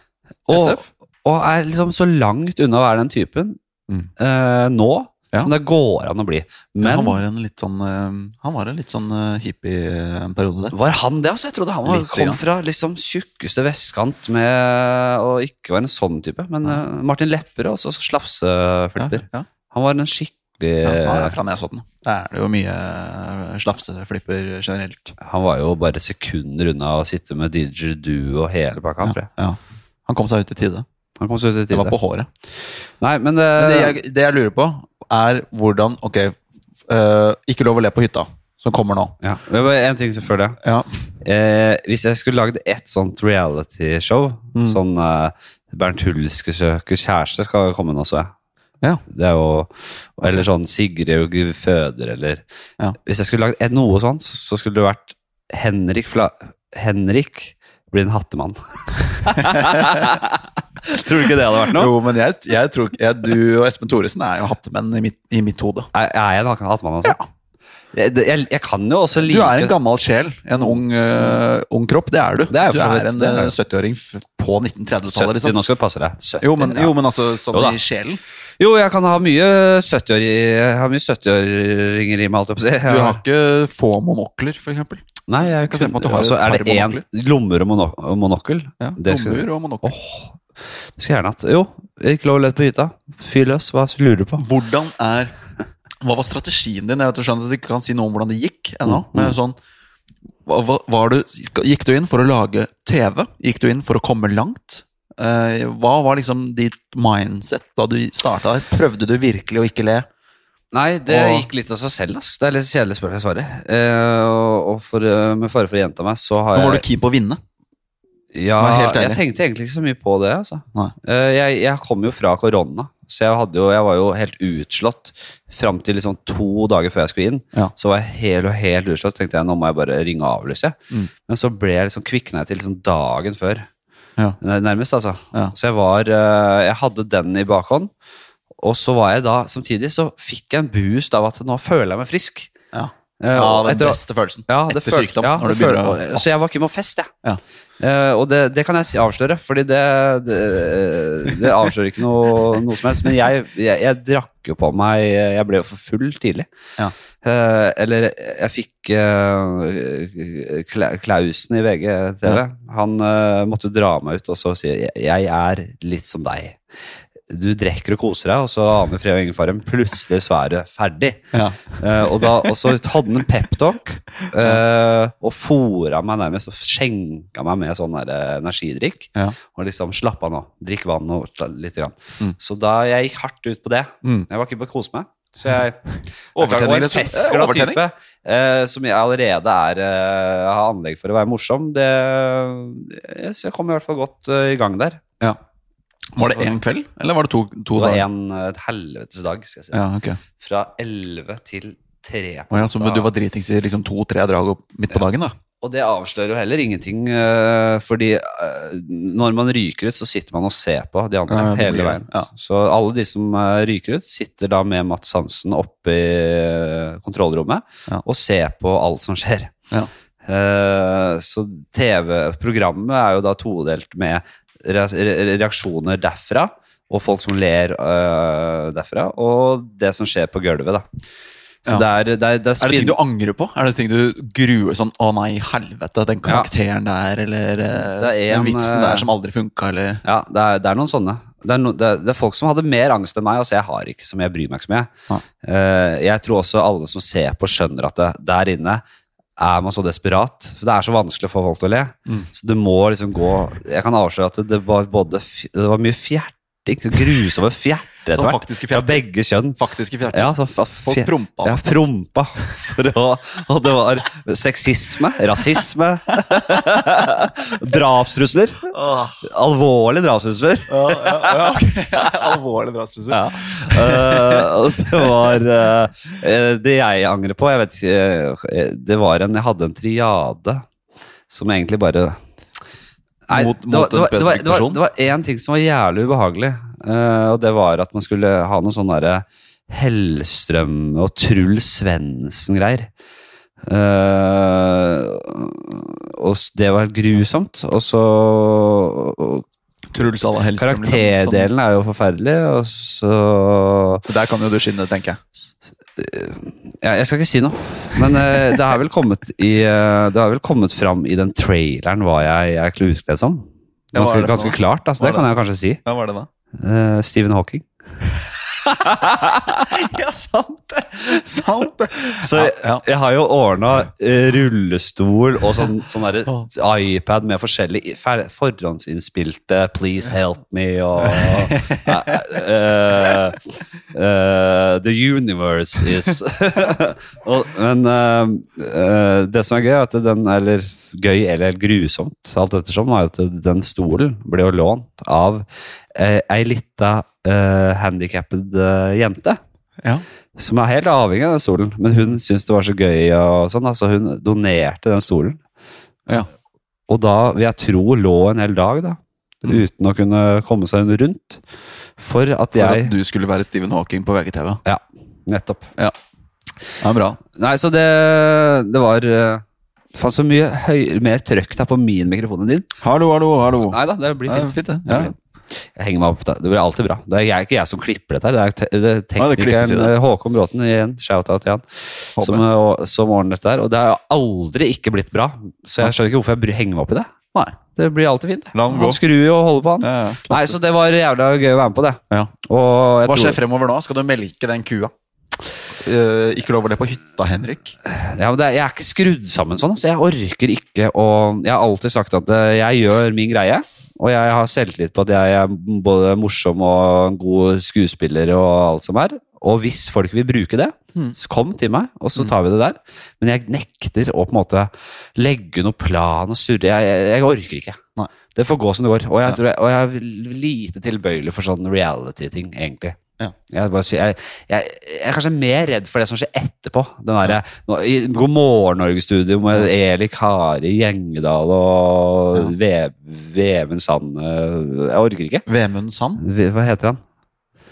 S2: Og,
S1: SF.
S2: og er liksom så langt unna å være den typen
S1: Mm.
S2: øh, nå
S1: Ja.
S2: som det går an å bli. Men
S1: han var en litt sånn, eh, han var en litt sånn eh, hippie eh, en periode der.
S2: Var han det? altså? Jeg trodde han var,
S1: Litt,
S2: kom
S1: ja.
S2: fra liksom tjukkeste vestkant med å ikke være en sånn type. Men eh, Martin Lepperød, også slafseflipper.
S1: Ja, ja.
S2: Han var en skikkelig
S1: Ja, han er fra Nesodden. Der Eh, er det jo mye eh, slafseflipper generelt.
S2: Han var jo bare sekunder unna å sitte med DJ Du og hele pakka. tror jeg.
S1: Ja. Han kom seg ut i tide.
S2: Han kom så ut i
S1: Det var
S2: tide.
S1: på håret.
S2: Nei, men, eh,
S1: Men det jeg, det jeg lurer på, er hvordan Ok, eh, Ikke lov å le på hytta, som kommer nå.
S2: Ja, det var en ting som før det.
S1: Ja.
S2: Eh, hvis jeg skulle lagd ett sånt reality-show,
S1: Mm.
S2: sånn eh, Bernt Hull skal søke kjæreste, skal komme nå, så jeg.
S1: Ja.
S2: Det er jo, eller sånn Sigrid og Gud føder, eller
S1: Ja.
S2: Hvis jeg skulle lagd et- noe sånt, så- så skulle det vært Henrik Fla... Henrik blir en hattemann. Tror du ikke det hadde vært noe?
S1: Jo, men jeg, jeg tror ikke- jeg, Du og Espen Thoresen er jo hattemenn i mitt, i mitt hode.
S2: Er er jeg en hat- hattemann, altså? Jeg, det- jeg, jeg kan jo også like
S1: Du er en gammel sjel. En ung, eh, ung kropp. Det er du.
S2: er jeg
S1: du
S2: for så
S1: er
S2: vidt,
S1: en
S2: det er
S1: eh,
S2: jeg.
S1: 70-åring f- på 1930-tallet,
S2: 70,
S1: liksom.
S2: nå skal du passe deg. 70,
S1: Jo, men,
S2: ja.
S1: jo, men altså sånn
S2: Jo da.
S1: i sjelen.
S2: Jo, jeg kan ha mye 70-år i- jeg har mye 70-åringer i meg, holdt jeg på å si. Jeg
S1: Du har
S2: har-
S1: ikke få monokler, for eksempel.
S2: Nei, jeg
S1: kan se for meg at du har
S2: altså,
S1: et
S2: Er det
S1: par
S2: én lommer og mono- og monokkel?
S1: Ja,
S2: Det skulle-
S1: Lommer og monokler.
S2: Åh, det skulle jeg gjerne hatt. Jo, ikke lov å lete på hytta. Fyr løs, hva lurer du på?
S1: Hvordan er Hva var strategien din? Jeg vet, du skjønner at du ikke kan si noe om hvordan det gikk ennå.
S2: Mm,
S1: Men sånn, hva, hva, var du, gikk du inn for å lage TV? Gikk du inn for å komme langt? Eh, hva var liksom ditt mindset da du starta der? Prøvde du virkelig å ikke le?
S2: Nei, det
S1: Og-
S2: gikk litt av seg selv, ass. Det er litt kjedelig spørsmål jeg svarer. Eh, og og for, eh, med fare for å gjenta meg, så har
S1: Men
S2: jeg
S1: var du keen på å vinne?
S2: Ja,
S1: Vær helt
S2: jeg
S1: ærlig.
S2: tenkte egentlig ikke så mye på det. Altså.
S1: Nei.
S2: Eh, Jeg, jeg kom jo fra korona, så jeg, hadde jo, jeg var jo helt utslått fram til liksom to dager før jeg skulle inn.
S1: Ja.
S2: Så var jeg helt og helt utslått. tenkte jeg nå må jeg bare ringe og avlyse.
S1: Mm.
S2: Men så ble jeg liksom, kvikna jeg til liksom dagen før.
S1: Ja.
S2: Nær- Nærmest, altså.
S1: Ja.
S2: Så jeg var eh, Jeg hadde den i bakhånd. Og så var jeg da, samtidig så fikk jeg en boost av at nå føler jeg meg frisk.
S1: Ja,
S2: Eh,
S1: ja
S2: og
S1: den
S2: etter å-
S1: beste følelsen.
S2: ja, det
S1: Etter
S2: følte-
S1: sykdom,
S2: Ja,
S1: når
S2: det
S1: du begynner
S2: følte-
S1: å-
S2: Så jeg var ikke med å feste, jeg.
S1: Ja.
S2: Eh, og det, det kan jeg si- avsløre, fordi det, det, det avslører ikke noe, noe som helst. Men jeg, jeg, jeg drakk jo på meg Jeg ble jo for full tidlig.
S1: Ja.
S2: Eh, eller jeg fikk eh, Kla- Klausen i VGTV. Han eh, måtte dra meg ut og så si jeg, jeg er litt som deg. Du drikker og koser deg, og så aner Freo Ingefarem plutselig så er du ferdig.
S1: Ja.
S2: Eh, og, da, og så hadde han en peptalk uh, og fora meg nærmest og skjenka meg med sånn der, eh, energidrikk.
S1: Ja.
S2: Og liksom slapp av nå, drikk vann og sla- litt. Grann.
S1: Mm.
S2: Så da jeg gikk hardt ut på det.
S1: Mm.
S2: Jeg var ikke på å kose meg. Så jeg
S1: Overtenning,
S2: Og en
S1: rett og slett.
S2: festglad
S1: Overtenning.
S2: type eh, som jeg allerede er, eh, har anlegg for å være morsom. Det, jeg, så jeg kom i hvert fall godt eh, i gang der.
S1: Ja. Var det én kveld, eller var det to, to
S2: Det var
S1: dager?
S2: en eh, et helvetes dag, skal jeg si.
S1: Ja, ok.
S2: Fra 11 til 3
S1: Å ja, så men du var dritings i liksom to-tre drag opp midt på dagen, da?
S2: Og det avslører jo heller ingenting, eh, fordi eh, når man ryker ut, så sitter man og ser på de andre
S1: Ja, det
S2: hele
S1: blir-
S2: veien.
S1: ja.
S2: Så alle de som eh, ryker ut, sitter da med Mats Hansen oppe i eh, kontrollrommet
S1: Ja.
S2: og ser på alt som skjer.
S1: Ja.
S2: Eh, Så TV-programmet er jo da todelt med rea- re- reaksjoner derfra, og folk som ler eh, derfra, og det som skjer på gulvet, da. Så det
S1: Ja.
S2: er, det er, det er
S1: Er det
S2: spinn-
S1: ting du angrer på? Er det ting du gruer sånn Å nei, helvete, den karakteren der, eller eh,
S2: Det er en,
S1: den vitsen
S2: eh,
S1: der som aldri funka, eller
S2: Ja, det er, det er noen sånne. Det er, no, det, er- det er folk som hadde mer angst enn meg, altså jeg har ikke så mye, jeg bryr meg ikke så mye.
S1: Nei.
S2: Eh, jeg tror også alle som ser på skjønner at det, der inne er man så desperat, for det er så vanskelig å få folk til å le.
S1: Mm.
S2: Så det må liksom gå, jeg kan avsløre at det, det var både, fj- det var mye fjerting, så grusomme fjerter etter
S1: Sånn
S2: hvert.
S1: faktiske
S2: Fra
S1: fjert.
S2: begge kjønn.
S1: Faktiske fjert.
S2: Ja, så, fa-
S1: Folk
S2: fjer-
S1: prompa.
S2: ja, prompa. For å, og det var sexisme, rasisme, drapstrusler.
S1: Åh,
S2: Alvorlige drapstrusler.
S1: ja, ja, ja, ok. Alvorlig drastisk.
S2: Ja. Eh, og det var eh, eh, Det jeg angrer på jeg vet, ikke, eh, Det var en Jeg hadde en triade som egentlig bare Nei,
S1: Mot-
S2: det,
S1: mot en
S2: var, det, var, det, var,
S1: spesifikk
S2: det, var,
S1: person?
S2: det var en ting som var jævlig ubehagelig, eh, og det var at man skulle ha noe sånn derre Hellstrøm og Truls Svendsen-greier. Eh, og s- det var grusomt. Og så
S1: Truls Alla Hellstrøm. liksom.
S2: Karakterdelen er jo forferdelig, og så
S1: Sånn. Der kan jo du skinne, tenker jeg.
S2: ja, Jeg skal ikke si noe, men eh, det har vel kommet i eh, Det har vel kommet fram i den traileren hva jeg, jeg er utkledd som.
S1: Ja, hva er
S2: Ganske,
S1: det for
S2: ganske
S1: noe?
S2: klart, altså,
S1: Hva
S2: det
S1: er
S2: kan jeg kanskje si.
S1: Ja, hva er det da?
S2: Eh, Stephen Hawking.
S1: ja, sant det! Sant det.
S2: Så
S1: ja,
S2: jeg,
S1: ja.
S2: jeg har jo ordna rullestol og sånn, sånn derre iPad med forskjellige i- fer- forhåndsinnspilte 'Please help me' og eh, eh, 'The universe is' og, Men eh, eh, det som er gøy, er at den Eller gøy eller grusomt, alt ettersom, er at den stolen ble jo lånt av eh, ei lita eh, handikappet eh, jente
S1: Ja.
S2: som er helt avhengig av den stolen. Men hun syntes det var så gøy, og sånn, da, så hun donerte den stolen.
S1: Ja.
S2: Og da, vil jeg tro, lå en hel dag, da.
S1: Mm.
S2: Uten å kunne komme seg rundt. For at
S1: For
S2: jeg
S1: at du skulle være Stephen Hawking på VGTV.
S2: Ja, nettopp.
S1: Ja, bra.
S2: Nei, så det, det var eh, Det fantes så mye høy, mer trøkk da på min mikrofon enn din.
S1: Hallo, hallo, hallo.
S2: Nei da, det blir
S1: Ja,
S2: fint.
S1: fint, det.
S2: Det
S1: Ja.
S2: blir- Jeg henger meg opp der. Det blir alltid bra. Det er jeg, ikke jeg som klipper dette. her. Det er te det er
S1: Ja, det klippes i
S2: teknikeren
S1: det.
S2: eh, Håkon Bråten igjen. Shout-out til han. Som, eh, å- som ordner dette her. Og det har jo aldri ikke blitt bra. Så jeg skjønner ikke hvorfor jeg bry- henger meg opp i det.
S1: Nei.
S2: Det blir alltid fint. det.
S1: La han gå.
S2: Han skrur jo og holder på, han.
S1: Ja, ja.
S2: Nei, så det var jævla gøy å være med på det.
S1: Ja.
S2: Og jeg
S1: Hva skjer
S2: tror,
S1: fremover nå? Skal du melke den kua? Eh, ikke lov å le på hytta, Henrik.
S2: ja, men det, er- jeg er ikke skrudd sammen sånn, så jeg orker ikke å Jeg har alltid sagt at eh, jeg gjør min greie, og jeg har selvtillit på at jeg er både morsom og en god skuespiller og alt som er. Og hvis folk vil bruke det,
S1: Mm.
S2: så kom til meg, og
S1: Hmm.
S2: så tar vi det der. Men jeg nekter å på en måte legge noe plan og surre. Jeg, jeg, jeg orker ikke.
S1: Nei.
S2: Det får gå som det går. Og jeg,
S1: Ja.
S2: tror jeg, og jeg er lite tilbøyelig for sånn reality-ting, egentlig.
S1: Ja.
S2: Jeg, bare, sier- jeg, jeg, jeg er kanskje mer redd for det som skjer etterpå. Den derre nå- i God morgen, Norge-studio med Eli Kari Gjengedal og Ve- Vemund Sand øh, Jeg orker ikke.
S1: Vemund Sand?
S2: Ve- Hva heter han?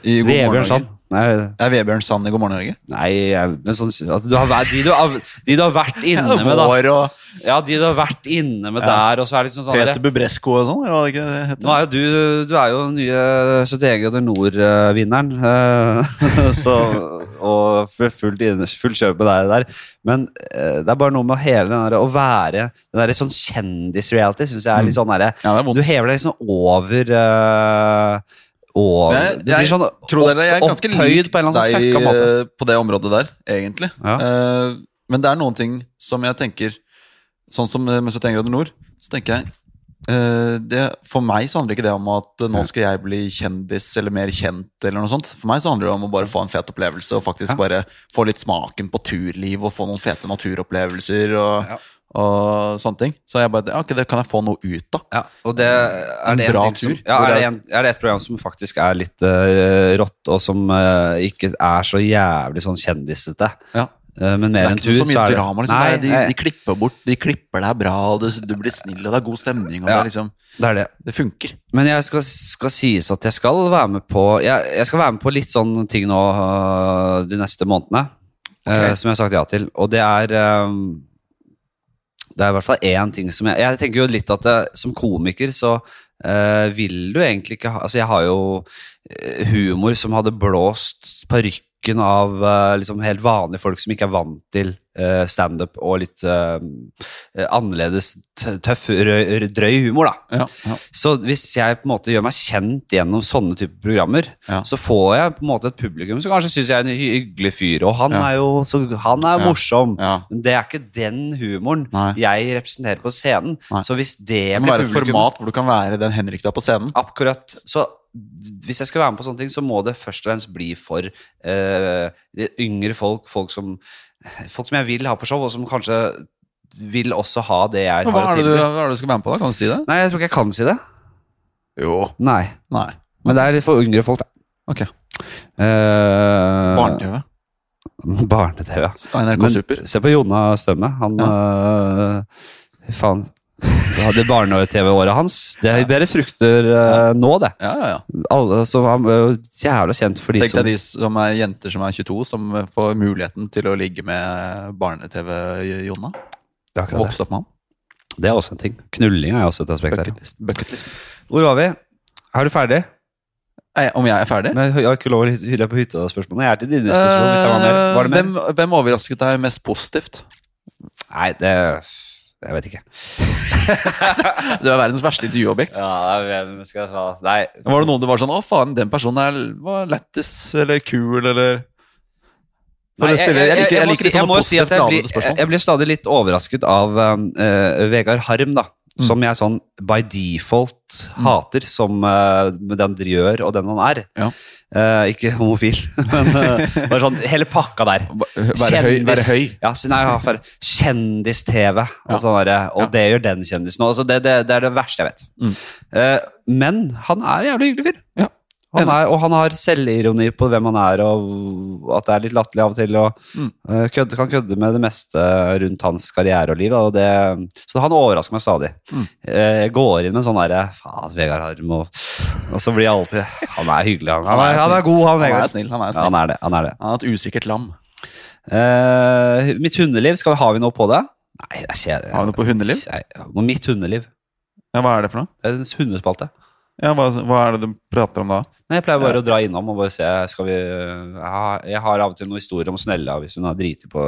S1: I God morgen,
S2: Vebjørn
S1: Norge.
S2: Sand. Nei,
S1: Det er Vebjørn Sand i God morgen, Norge.
S2: Nei, jeg- men sånn, at du har, vært- de, du har, de du har vært
S1: Ja,
S2: inne med, da.
S1: Vår og
S2: Ja, de du har vært inne med der, og så er det liksom sånn
S1: Peter
S2: der,
S1: Bubresko og sånn, eller hva det ikke det
S2: nå
S1: heter?
S2: er jo du, du er jo den nye 71 grader nord-vinneren, eh, og full, fullt inne- fullt kjør på deg der. Men eh, det er bare noe med hele den der, å være den der sånn kjendis-reality, syns jeg er litt sånn derre
S1: Ja, det er vondt.
S2: Du hever deg liksom over eh, over
S1: Jeg-
S2: Det blir
S1: jeg-
S2: sånn
S1: Tro dere, jeg er ganske
S2: opphøyd
S1: lik
S2: på en eller annen sånn
S1: deg
S2: fucka måte.
S1: eh, på det området der, egentlig.
S2: Ja.
S1: Eh, men det er noen ting som jeg tenker Sånn som eh, med 71 grader nord, så tenker jeg eh, det, For meg så handler ikke det om at eh, nå skal jeg bli kjendis eller mer kjent. eller noe sånt For meg så handler det om å bare få en fet opplevelse og faktisk
S2: Ja.
S1: bare få litt smaken på turliv og få noen fete naturopplevelser og,
S2: Ja.
S1: og sånne ting. Så jeg bare, ja, ok, det kan jeg få noe ut av.
S2: Ja, og det er
S1: En
S2: det en
S1: bra
S2: ting som,
S1: tur,
S2: ja,
S1: hvor
S2: er, det
S1: det er-
S2: en, er det et program som faktisk er litt eh, rått, og som eh, ikke er så jævlig sånn kjendisete.
S1: Ja.
S2: Eh,
S1: Det
S2: men mer
S1: er
S2: enn
S1: ikke
S2: tur,
S1: så mye drama. Liksom.
S2: Nei,
S1: det er,
S2: nei,
S1: de, de klipper bort, de klipper deg bra, og du, du blir snill, og det er god stemning. Og
S2: Ja.
S1: det, er liksom,
S2: det er det.
S1: det funker.
S2: Men jeg skal, skal sies at jeg skal være med på jeg, jeg skal være med på litt sånn ting nå øh, de neste månedene. øh, som jeg har sagt ja til. Og det er øhm, Det er i hvert fall én ting som jeg Jeg tenker jo litt at øh, som komiker så øh, vil du egentlig ikke ha Altså, jeg har jo øh, humor som hadde blåst parykken av øh, liksom helt vanlige folk som ikke er vant til øh, standup og litt øh, annerledes, tø- tøff, rø- rø- drøy humor, da.
S1: Ja, ja.
S2: Så hvis jeg på en måte gjør meg kjent gjennom sånne typer programmer,
S1: Ja.
S2: så får jeg på en måte et publikum som kanskje syns jeg er en hy- hyggelig fyr, og han
S1: Ja.
S2: er jo så, han er
S1: Ja.
S2: morsom.
S1: Ja.
S2: Men det er ikke den humoren
S1: Nei.
S2: jeg representerer på scenen.
S1: Nei.
S2: Så hvis det
S1: Det må
S2: blir
S1: være et
S2: publikum
S1: format hvor du kan være den Henrik du er på scenen.
S2: Akkurat. Så hvis jeg skal være med på sånne ting, så må det først og fremst bli for eh, yngre folk, folk som, folk som jeg vil ha på show, og som kanskje vil også ha det jeg
S1: Men Hva er,
S2: har å
S1: det du,
S2: tilby.
S1: hva er det du skal være med på, da? Kan du si det?
S2: Nei, jeg tror ikke jeg kan si det.
S1: Jo.
S2: Nei.
S1: Nei.
S2: Men det er litt for yngre folk, da.
S1: Ok.
S2: Eh,
S1: Barne-TV.
S2: Barne-TV, ja.
S1: NRK
S2: Men
S1: Super.
S2: se på Jonna Stømme. Han eh, Faen. Ja, Det barne-TV-året hans, det er bedre frukter eh, nå, det.
S1: Ja, ja, ja.
S2: Alle, så han ble jo jævla kjent for de
S1: Tenk
S2: som
S1: deg de som er jenter som er 22, som får muligheten til å ligge med barne-TV-Jonna.
S2: Det er akkurat det.
S1: Vokse opp med han.
S2: Det er også en ting. Knulling er også et aspekt her.
S1: Bucketlist. Bucketlist.
S2: Hvor var vi? Er du ferdig?
S1: Eh, Om jeg er ferdig?
S2: Men jeg har ikke lov å hyre deg på hytta-spørsmålene. Jeg er til dine spørsmål.
S1: Eh,
S2: hvis jeg var med. Var det med?
S1: hvem, hvem overrasket deg mest positivt?
S2: Nei, det Jeg vet ikke.
S1: Det var verdens verste intervjuobjekt.
S2: Ja, jeg skal ta Nei.
S1: Var det noen du var sånn 'Å, faen, den personen er, var lættis eller kul', eller For å
S2: Nei,
S1: stille- jeg liker- jeg
S2: må
S1: liker
S2: si-
S1: sånne
S2: jeg må si at
S1: positivt
S2: jeg
S1: ladede
S2: blir-
S1: spørsmål.
S2: Jeg, jeg blir stadig litt overrasket av um, eh, Vegard Harm, da.
S1: Mm.
S2: Som jeg sånn by default hater, som eh, med den dere gjør, og den han er.
S1: Ja.
S2: Eh, ikke homofil, men eh, bare sånn hele pakka der.
S1: Være høy, være høy.
S2: Ja, så nei, ja, for- Kjendis-TV. Og,
S1: Ja.
S2: sånn derre, og det gjør den kjendisen også. Det, det, det er det verste jeg vet.
S1: Mm.
S2: Eh, men han er en jævlig hyggelig fyr.
S1: Ja.
S2: Han er, og han har selvironi på hvem han er, og at det er litt latterlig av og til. Og
S1: Mm.
S2: eh, kødde, kan kødde med det meste rundt hans karriere og liv. da, Og det, så han overrasker meg stadig.
S1: Mm.
S2: Eh, jeg går inn med sånn derre Faen, Vegard Harm, og, og så blir jeg alltid Han er hyggelig, han. Han er, han er god, han
S1: Han er
S2: Vegard.
S1: snill. Han er
S2: Ja,
S1: snill.
S2: han er det. Han er det.
S1: Han er et usikkert lam.
S2: Eh, mitt hundeliv, skal vi, har vi noe på det? Nei, det er kjedelig.
S1: Har vi noe på hundeliv?
S2: Nei, noe mitt hundeliv.
S1: Ja, hva er det for noe?
S2: Det er en hundespalte.
S1: Ja, hva, hva er det du prater om da?
S2: Nei, jeg pleier bare å dra innom og bare se skal vi, jeg, har, jeg har av og til noen historier om Snella hvis hun har driti på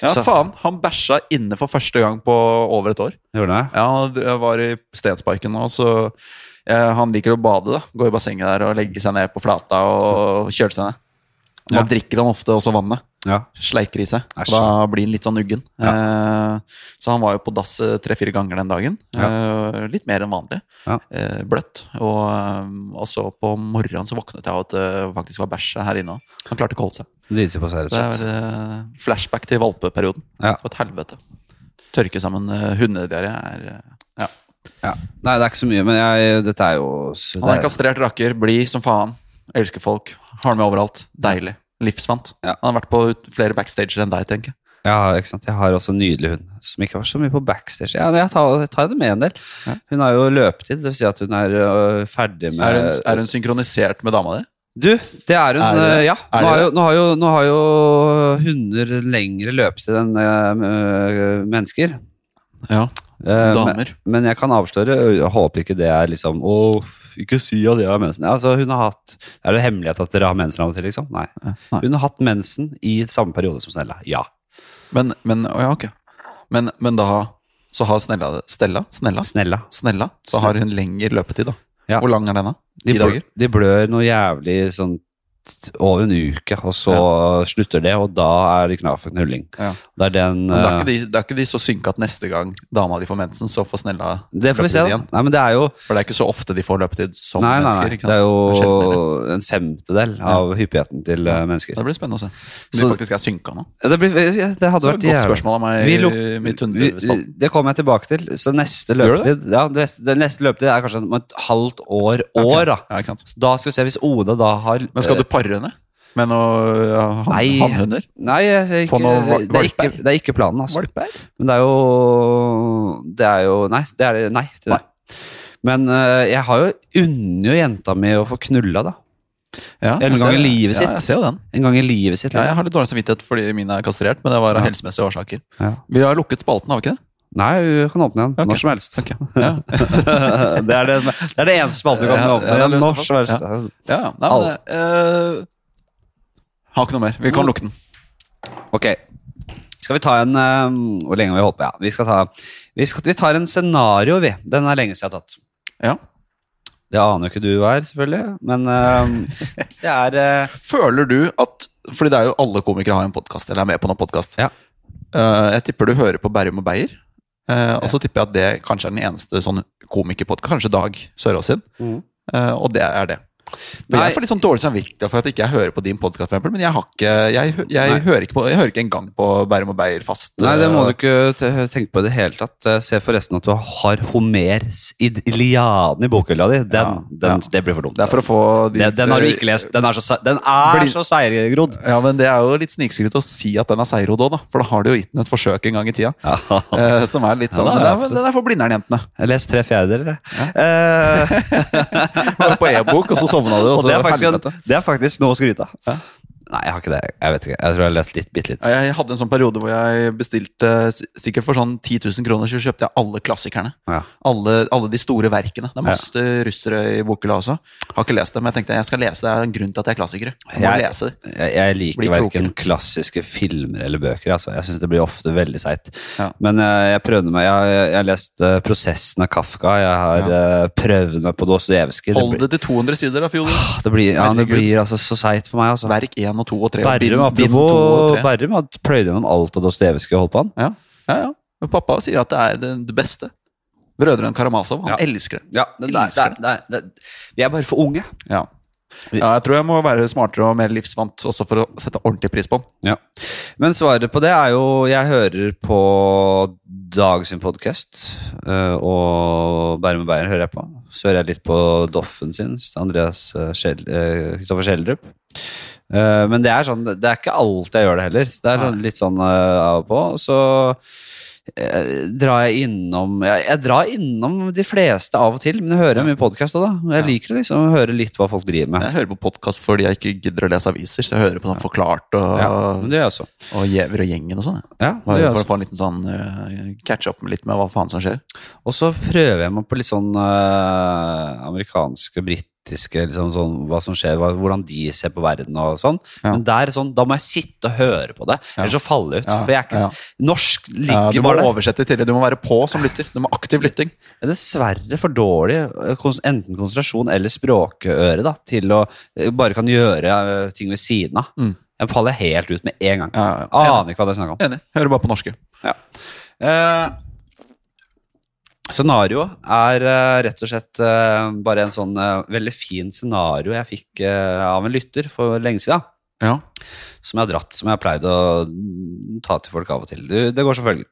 S1: Ja,
S2: Så-
S1: faen. Han bæsja inne for første gang på over et år.
S2: Gjorde hun det?
S1: Ja, d- jeg var i Stensparken nå, så eh, han liker å bade. da Gå i bassenget der og legge seg ned på flata og kjøle seg ned. Da
S2: Ja.
S1: drikker han ofte også vannet.
S2: Ja.
S1: Sleiker i seg. og
S2: Æsj.
S1: Da blir han litt sånn uggen. Eh, så han var jo på dass eh, tre-fire ganger den dagen. Eh, litt mer enn vanlig.
S2: Ja.
S1: Eh, bløtt. Og, eh, og så på morgenen så våknet jeg av at det faktisk var bæsj her inne òg. Han klarte ikke å holde seg.
S2: Driti på seg, rett
S1: Det
S2: og
S1: er
S2: slett.
S1: eh, flashback til valpeperioden.
S2: Ja.
S1: For et helvete. Tørke sammen eh, hundediaré er eh, ja.
S2: Ja. Nei, det er ikke så mye, men jeg, dette er jo det
S1: Han er en
S2: er-
S1: kastrert raker, blid som faen. Elsker folk. Har det med overalt. Deilig. Livsvant.
S2: Ja.
S1: Han har vært på ut- flere backstager enn deg, tenker jeg.
S2: Ja, ikke sant? Jeg har også en nydelig hund som ikke var så mye på backstage. Ja, men jeg tar, jeg tar henne med en del.
S1: Ja.
S2: Hun har jo løpetid, det vil si at hun er øh, ferdig med
S1: Er hun, er hun synkronisert med dama di?
S2: Du, det er hun.
S1: Er det det?
S2: eh, Ja.
S1: Er
S2: Nå har,
S1: det
S2: jo, nå, har jo, nå har jo hunder lengre løpetid enn eh, mennesker.
S1: Ja.
S2: Eh, men,
S1: Damer.
S2: men jeg kan avsløre, og jeg håper ikke det er liksom Å, ikke si at jeg har mensen. Ja, Altså, hun har hatt Er det hemmelighet at dere har mensen av og til, liksom? Nei.
S1: Nei.
S2: Hun har hatt mensen i samme periode som Snella. Ja.
S1: Men, men, å ja, ok. men, men da så har Snella Stella? Snella?
S2: Snella.
S1: Snella. Så
S2: Snella.
S1: har hun lengre løpetid, da.
S2: Ja.
S1: Hvor lang er den, da?
S2: De,
S1: Ti
S2: blør-
S1: dager?
S2: de blør noe jævlig sånn t- over en uke, og så slutter det, og da er det knaff og knulling.
S1: Ja.
S2: Det er den
S1: Men det er,
S2: eh,
S1: ikke de, det er ikke de så synka at neste gang dama di får mensen, så får Snella
S2: Det får vi
S1: løpetid
S2: se. da.
S1: igjen.
S2: Nei, men det er jo
S1: For det er ikke så ofte de får løpetid som
S2: nei, nei,
S1: mennesker.
S2: nei.
S1: Ikke sant?
S2: Det er
S1: sjeldnere.
S2: jo en femtedel av hyppigheten til eh, mennesker.
S1: det blir spennende å se. Om de
S2: Så-
S1: faktisk er synka nå.
S2: Det, blir, ja, det hadde
S1: Så
S2: vært
S1: et godt
S2: jævlig.
S1: spørsmål av meg. eh,
S2: Vi
S1: i
S2: luk-
S1: mitt
S2: vi-
S1: hundespalt.
S2: Det kommer jeg tilbake til. Så neste
S1: Gjør
S2: løpetid ja, det neste, det neste løpetid er kanskje om et halvt år.
S1: Ok.
S2: år da.
S1: Ja, ikke sant.
S2: Så da skal vi se hvis Oda da har
S1: Men skal du pare henne med noen ja, han,
S2: Nei.
S1: hannhunder?
S2: Nei, jeg- jeg-
S1: Få noe val-
S2: ikke, det, er ikke,
S1: valper?
S2: det er ikke planen. Altså.
S1: Valper?
S2: Men det er jo Det er jo Nei, det er nei til det. Men eh, jeg har jo unner jo jenta mi å få knulla, da.
S1: Ja,
S2: En
S1: jeg
S2: gang
S1: ser-
S2: i livet sitt.
S1: Ja, jeg ser jo den.
S2: En gang i livet sitt.
S1: Ja,
S2: liksom.
S1: jeg har litt dårlig samvittighet fordi mine er kastrert, men det var av
S2: Ja.
S1: helsemessige årsaker.
S2: Ja.
S1: Vi har lukket spalten, har vi ikke det?
S2: liksom. Nei, du kan åpne den
S1: Ok.
S2: når som helst.
S1: Ok. Ja.
S2: det, er det, det er det eneste spalten du kan
S1: Ja,
S2: åpne
S1: ja, det er
S2: når
S1: løst.
S2: som helst.
S1: Ja, ja. Nei, men, eh, har ikke noe mer. Vi kan lukke den.
S2: Ok. Skal vi ta en eh, Hvor lenge har vi holdt på? Ja, vi, skal ta, vi, skal, vi tar en scenario, vi. Den er lenge siden jeg har tatt.
S1: Ja.
S2: Det aner jo ikke du er, selvfølgelig. Men eh, det er eh,
S1: Føler du at Fordi det er jo alle komikere har en podkast, eller er med på noen podkast.
S2: Ja.
S1: Eh, jeg tipper du hører på Berrum og Beyer. Eh, og så tipper jeg at det kanskje er den eneste sånn komikerpodkast. Kanskje Dag Sørås sin. Eh, og det er det. For
S2: Nei.
S1: jeg får litt sånn dårlig samvittighet for at ikke jeg hører på din podkast, men jeg, har ikke, jeg, hø- jeg,
S2: Nei.
S1: hører ikke på, jeg hører ikke engang på Bærum og Beyer fast.
S2: Nei, det må du
S1: eh,
S2: ikke te- tenke på i det hele tatt. Eh, Se forresten at du har Homers Id- Iliaden i bokhylla di. Den,
S1: Ja, ja.
S2: den, Det blir for
S1: eh,
S2: dumt.
S1: Det er for å få de-
S2: den, den har du ikke lest. Den er så, se- den er
S1: Bli-
S2: så seiergrodd.
S1: Ja, men det er jo litt snikskryt å si at den er seirod òg, da. For da har du jo gitt den et forsøk en gang i tida.
S2: Ja.
S1: eh, som er litt sånn
S2: Ja,
S1: Men
S2: det er
S1: det er, den er for Blindern-jentene.
S2: Jeg leste tre fjerdedeler. jeg. Eh,
S1: Du var På e-bok, og så sovna du, og
S2: og
S1: så
S2: det er, faktisk en,
S1: helvete.
S2: det er faktisk noe å skryte av. Nei, jeg har ikke det. Jeg vet ikke. Jeg tror jeg har lest litt, bitte litt.
S1: Ja, Jeg hadde en sånn periode hvor jeg bestilte s- sikkert for sånn 10 000 kroner, så kjøpte jeg alle klassikerne.
S2: Ja.
S1: Alle, alle de store verkene. Det er masse russere i bokhylla også. Har ikke lest det, men jeg tenkte jeg skal lese det. Det er en grunn til at jeg er klassiker. Jeg må
S2: Jeg-
S1: lese det.
S2: Jeg, jeg liker
S1: Bli
S2: verken klassiske filmer eller bøker. Altså. Jeg syns det blir ofte veldig seigt.
S1: Ja.
S2: Men eh, jeg prøvde meg Jeg, jeg har lest eh, 'Prosessen av Kafka'. Jeg har eh, prøvd meg på Dostojevskij.
S1: Hold
S2: blir-
S1: det til 200 sider, da, Fjodor.
S2: Ah, det blir, ja, det
S1: Herregud.
S2: blir altså så seigt for meg. Altså.
S1: Verk 1 og 2 og 3. og
S2: Berrum
S1: bind- bind 2 og
S2: apropos,
S1: 3.
S2: Berrum har pløyd gjennom alt av Dostojevskij og holdt på han.
S1: Ja, ja, ja. Men pappa sier at det er det, det beste. Brødrene Karamazov. Han
S2: Ja.
S1: elsker det.
S2: Ja,
S1: det er-
S2: Vi er bare for unge.
S1: Ja. ja, jeg tror jeg må være smartere og mer livsvant også for å sette ordentlig pris på den.
S2: Ja. Men svaret på det er jo Jeg hører på Dag sin podkast, og Bærum og Beyer hører jeg på. Så hører jeg litt på Doffen sin, Andreas eh, Schjeld- eh, Kristoffer Schjelderup. Eh, Men det er sånn, det er ikke alltid jeg gjør det heller. Så det er sånn, litt sånn eh, av og på. Så eh, drar jeg innom jeg, jeg drar innom de fleste av og til, men jeg hører mye podkast òg, da. Jeg liker det liksom å høre litt hva folk driver med.
S1: Jeg hører på podkast fordi jeg ikke gidder å lese aviser, så jeg hører på sånn Forklart og,
S2: Ja, men det gjør jeg også.
S1: og Gjever og Gjengen og sånn. jeg.
S2: Ja, det gjør
S1: Bare
S2: jeg
S1: for
S2: også.
S1: å få en liten sånn eh, catch up litt med hva faen som skjer.
S2: Og så prøver jeg meg på litt sånn eh, amerikanske, britiske liksom sånn, Hva som skjer, hva, hvordan de ser på verden og sånn.
S1: Ja.
S2: Men der sånn, da må jeg sitte og høre på det, ellers så faller jeg ut.
S1: Ja,
S2: For jeg er ikke
S1: ja.
S2: Norsk
S1: Ja,
S2: ligger
S1: du må
S2: bare der.
S1: oversette til det. Du må være på som lytter. Du må aktiv lytting.
S2: Jeg er dessverre for dårlig, eh, kons- enten konsentrasjon eller språkøre, da, til å eh, bare kan gjøre eh, ting ved siden av.
S1: Mm.
S2: Jeg faller helt ut med en gang.
S1: Ja, ja.
S2: Aner ikke hva det er snakk om.
S1: Enig. Hører bare på norske.
S2: Ja. Eh, scenario er eh, rett og slett eh, bare en sånn eh, veldig fin scenario jeg fikk eh, av en lytter for lenge siden.
S1: Ja.
S2: Som jeg har dratt, som jeg har pleid å mm, ta til folk av og til. Du, det går som følger.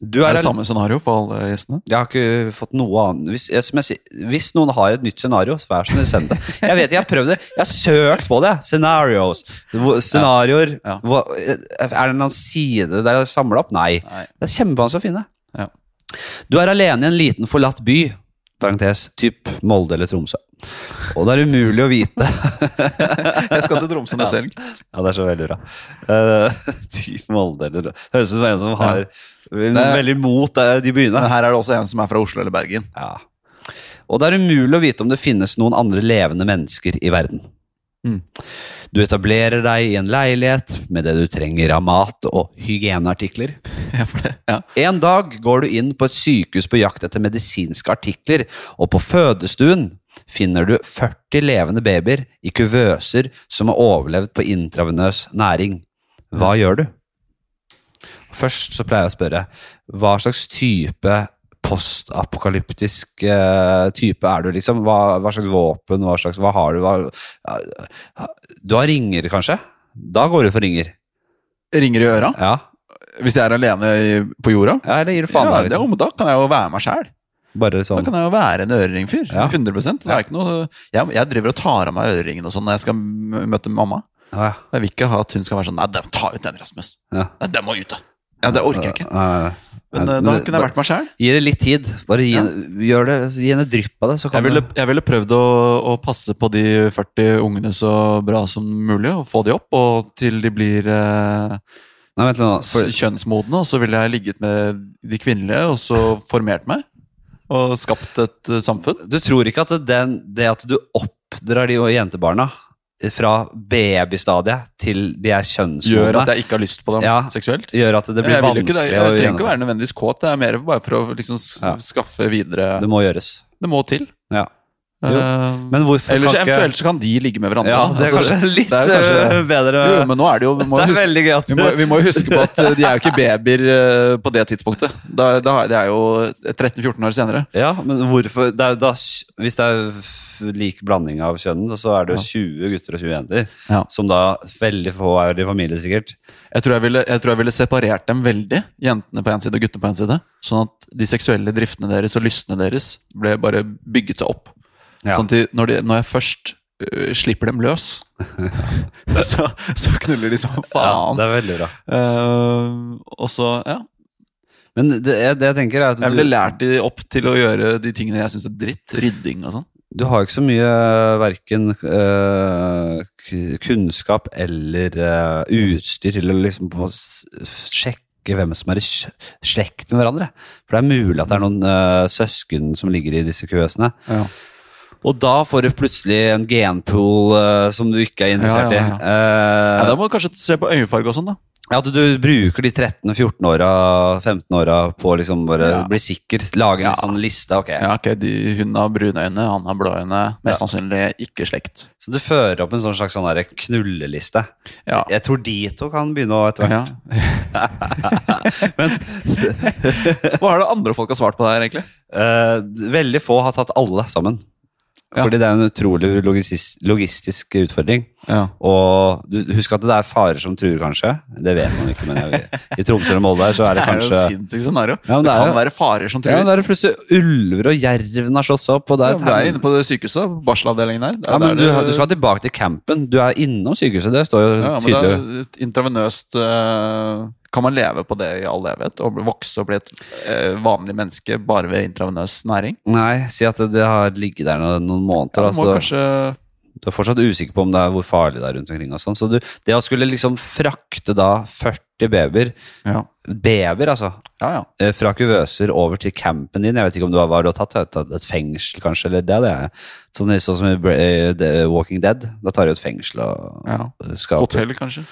S2: Du
S1: Er
S2: er,
S1: det samme scenario for alle gjestene?
S2: Jeg har ikke fått noe annet. Hvis, jeg, som jeg, sier, hvis noen har et nytt scenario, så vær så snill, send det. Jeg vet, jeg har prøvd det. Jeg har søkt på det. Scenarios. Hvor- Scenarioer.
S1: Ja.
S2: Hva- Er det en eller annen side der jeg har samla opp? Nei.
S1: Nei.
S2: Det er kjempevanskelig å finne.
S1: Ja.
S2: Du er alene i en liten forlatt by, parentes, typ Molde eller Tromsø. Og det er umulig å vite.
S1: Jeg skal til Tromsø neste helg.
S2: Ja, det er så veldig bra. Eh, typ Molde eller Tromsø. Høres ut som en som har noe veldig mot eh, de byene.
S1: Men her er det også en som er fra Oslo eller Bergen.
S2: Ja. Og det er umulig å vite om det finnes noen andre levende mennesker i verden.
S1: Mm.
S2: Du etablerer deg i en leilighet med det du trenger av mat og hygieneartikler.
S1: Ja, for det. Ja.
S2: En dag går du inn på et sykehus på jakt etter medisinske artikler, og på fødestuen finner du 40 levende babyer i kuvøser som har overlevd på intravenøs næring. Hva
S1: Mm.
S2: gjør du? Først så pleier jeg å spørre hva slags type postapokalyptisk eh, type er du, liksom? Hva, hva slags våpen, hva slags Hva har du? Hva, ja, du har ringer, kanskje? Da går du for ringer.
S1: Ringer i øra
S2: Ja,
S1: hvis jeg er alene i- på jorda.
S2: ja eller gir du faen
S1: Ja,
S2: deg,
S1: det,
S2: liksom?
S1: da kan jeg jo være meg sjæl.
S2: Bare
S1: Da
S2: sånn
S1: kan jeg jo være en øreringfyr.
S2: Ja.
S1: 100 det er ikke noe, jeg, jeg driver og tar av meg øreringene og sånn når jeg skal m- møte mamma.
S2: ja,
S1: Jeg vil ikke ha at hun skal være sånn Nei, dem- ta ut den, Rasmus.
S2: ja.
S1: Nei, den må ut, da. Ja, det orker jeg ikke.
S2: Nei, nei,
S1: Men
S2: nei.
S1: eh, da kunne jeg vært meg sjæl.
S2: Gi det litt tid. Bare gi, gjør det, Altså, gi henne drypp av det. Så kan
S1: Jeg ville,
S2: du-
S1: jeg ville prøvd å, å passe på de 40 ungene så bra som mulig, og få de opp og til de blir eh,
S2: Nei, vent litt nå.
S1: s-
S2: For,
S1: kjønnsmodne, og så ville jeg ligget med de kvinnelige, og så formert meg. Og skapt et eh, samfunn.
S2: du tror ikke at den, det at du oppdrar de jentebarna fra babystadiet til de
S1: Gjør
S2: er
S1: at
S2: kjønnsmodne,
S1: jeg ikke har lyst på dem
S2: Ja.
S1: seksuelt.
S2: gjør at det blir
S1: Jeg, vil jo
S2: vanskelig
S1: ikke, det.
S2: å
S1: jeg trenger ikke
S2: gjennomføre.
S1: være nødvendigvis kåt, det er mer bare for å liksom s-
S2: Ja.
S1: skaffe videre
S2: Det må gjøres.
S1: Det må til.
S2: Ja. Jo.
S1: Eh,
S2: Men hvorfor
S1: Ellers
S2: kan ikke
S1: eventuelt så kan de ligge med hverandre.
S2: Ja, det er
S1: Altså,
S2: kanskje litt
S1: det er jo kanskje-
S2: øh, bedre
S1: Jo, men nå er det jo Vi må,
S2: Det er
S1: huske,
S2: veldig gøy at
S1: vi må, vi må jo huske på at eh, de er jo ikke babyer eh, på det tidspunktet. Da, da, det er jo 13-14 år senere.
S2: Ja, men hvorfor det er, jo da, Hvis det er f- lik blanding av kjønnene, så er det jo 20 gutter og 20 jenter.
S1: Ja.
S2: Som da veldig få er i familie, sikkert.
S1: Jeg tror jeg, ville, jeg tror jeg ville separert dem veldig, jentene på en side og guttene på en side. Sånn at de seksuelle driftene deres og lystene deres ble bare bygget seg opp.
S2: Ja.
S1: Sånn at de, når, de, når jeg først øh, slipper dem løs, så, så knuller de som
S2: Ja,
S1: faen.
S2: det er veldig bra.
S1: Eh, og så, ja
S2: Men det, jeg- det jeg tenker er at
S1: Jeg ville
S2: du,
S1: lært de opp til å gjøre de tingene jeg syns er dritt. Rydding og sånn.
S2: Du har jo ikke så mye verken eh, k- kunnskap eller eh, utstyr til å liksom på, å s- sjekke hvem som er i kj- slekt med hverandre. For det er mulig at det er noen eh, søsken som ligger i disse køsene.
S1: Ja.
S2: Og da får du plutselig en genpool eh, som du ikke er interessert
S1: Ja, ja, ja.
S2: i. Eh,
S1: Ja, da må du kanskje se på øyefarge og sånn, da.
S2: ja, at du bruker de 13, 14 åra, 15 åra på å liksom bare
S1: Ja.
S2: bli sikker. Lage en
S1: Ja.
S2: sånn liste. ok.
S1: Ja, ok, de, Hun har brune øyne, han har blå øyne. Mest
S2: Ja.
S1: sannsynlig ikke slekt.
S2: Så du fører opp en sånn slags sånn der knulleliste.
S1: Ja.
S2: Jeg tror de to kan begynne å etter hvert.
S1: Ja. Hva er det andre folk har svart på der, egentlig?
S2: Eh, veldig få har tatt alle sammen.
S1: Ja.
S2: Fordi det er en utrolig logistisk, logistisk utfordring.
S1: Ja.
S2: Og du, husk at det er farer som truer, kanskje. Det vet man ikke, men jeg, i Tromsø eller Molde her, så er
S1: Det
S2: det
S1: er jo
S2: kanskje
S1: et sinnssykt scenario.
S2: Ja, men
S1: det,
S2: det er
S1: kan
S2: jo-
S1: være farer som
S2: ja, men
S1: truer.
S2: Da er det plutselig ulver og jerven har slått seg opp. Og det
S1: Ja,
S2: er
S1: du
S2: et
S1: er inne på det sykehuset, på barselavdelingen der. Der-
S2: Ja, men
S1: der
S2: du,
S1: er det-
S2: du skal tilbake til campen. Du er innom sykehuset, det står jo
S1: ja, men det er
S2: tydelig.
S1: et intravenøst eh, Kan man leve på det i all evighet? Og bli- vokse og bli et eh, vanlig menneske bare ved intravenøs næring?
S2: Nei, si at det- det har ligget der noen, noen måneder.
S1: Ja, du
S2: altså,
S1: må kanskje
S2: Du er fortsatt usikker på om det er hvor farlig det er rundt omkring. og sånn. Så du, det å skulle liksom frakte da 40 babyer,
S1: Ja,
S2: babyer altså,
S1: ja. ja.
S2: eh, fra kuvøser over til campen din Jeg vet ikke om du har, hva du har tatt, et, et fengsel kanskje, eller det, det er sånn, sånn som i Bra- eh, The Walking Dead. Da tar du et fengsel og
S1: Ja.
S2: skal opp-
S1: Hotell, kanskje?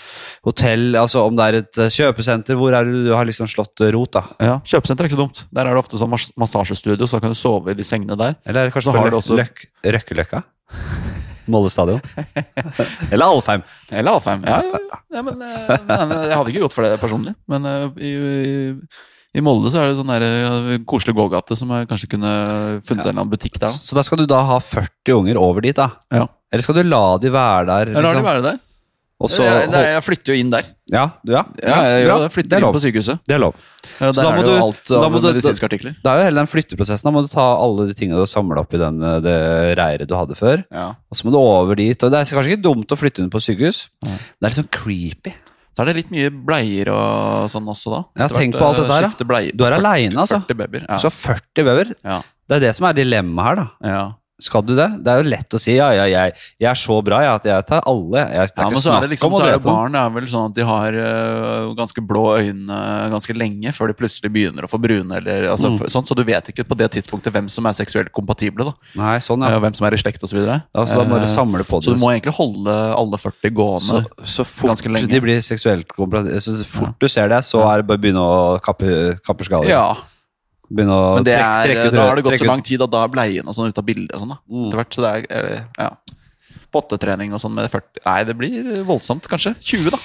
S2: Hotell, altså om det er et eh, kjøpesenter, hvor er det du har liksom slått eh, rot, da?
S1: Ja, Kjøpesenter er ikke så dumt. Der er det ofte sånn mas massasjestudio, så da kan du sove i de sengene der.
S2: Eller kanskje
S1: Så
S2: på
S1: har det
S2: Løk-
S1: også-
S2: Løk- Røkkeløkka? Molde stadion? Eller Alfheim?
S1: Eller Alfheim. Ja, jo, jo. ja men, eh, nei, men Jeg hadde ikke gått for det personlig, men eh, i, i, i Molde så er det sånn der, eh, koselig gågate som jeg kanskje kunne funnet en eller annen butikk der.
S2: Så da skal du da ha 40 unger over dit, da?
S1: da. Ja.
S2: Eller skal du la de være der? liksom?
S1: Jeg lar de være der.
S2: Og så,
S1: jeg, nei, jeg flytter jo inn der.
S2: ja, du- ja,
S1: Ja, jeg gjør
S2: bra.
S1: det. Jeg
S2: det,
S1: Flytter
S2: er
S1: inn
S2: lov.
S1: på sykehuset.
S2: det er lov.
S1: Ja,
S2: da
S1: der er
S2: må
S1: det jo
S2: du-
S1: alt
S2: da
S1: av
S2: må du-
S1: medisinske artikler.
S2: Det er jo hele den flytteprosessen. Da må du ta alle de tingene du har samla opp i den, eh, det reiret du hadde før.
S1: Ja.
S2: Og så må du over dit. Og det er kanskje ikke dumt å flytte henne på sykehus,
S1: Nei.
S2: men det er litt sånn creepy.
S1: Da er det litt mye bleier og sånn også, da.
S2: Ja,
S1: Etter
S2: tenk
S1: hvert,
S2: på alt det
S1: eh,
S2: der, da.
S1: skifte bleier.
S2: Du er
S1: 40
S2: aleine, altså.
S1: 40 babyer.
S2: Så
S1: Ja.
S2: 40 babyer.
S1: Ja.
S2: Det er det som er dilemmaet her, da.
S1: Ja.
S2: Skal du det? Det er jo lett å si ja, ja, jeg, jeg er så bra ja, at jeg tar alle. Jeg, det er
S1: Ja,
S2: ikke
S1: men så er det
S2: snakk
S1: liksom,
S2: om å
S1: så er det
S2: drepe noen.
S1: barn det er vel sånn at de har øh, ganske blå øyne ganske lenge før de plutselig begynner å få brune. Eller, altså,
S2: Mm.
S1: f- sånn, så du vet ikke på det tidspunktet hvem som er seksuelt kompatible. Da.
S2: Nei, sånn, ja.
S1: Eh, Hvem som er i slekt osv. Så, videre.
S2: ja så da må du
S1: Eh,
S2: samle på
S1: så
S2: det.
S1: du må egentlig holde alle 40 gående.
S2: så, så fort
S1: ganske lenge.
S2: de blir seksuelt kompatible, så fort du ser det, så er det bare å begynne å kappe, kappe skaller.
S1: ja,
S2: Begynne å
S1: men det
S2: trekke,
S1: er,
S2: trekke ut
S1: da
S2: hø-
S1: har det gått
S2: trekke
S1: så
S2: ut-
S1: lang tid at da er bleien og sånn ute av bildet. og sånn da.
S2: Mm.
S1: Etter hvert, så det er, er det- ja. Pottetrening og sånn med 40 Nei, det blir voldsomt, kanskje. 20, da.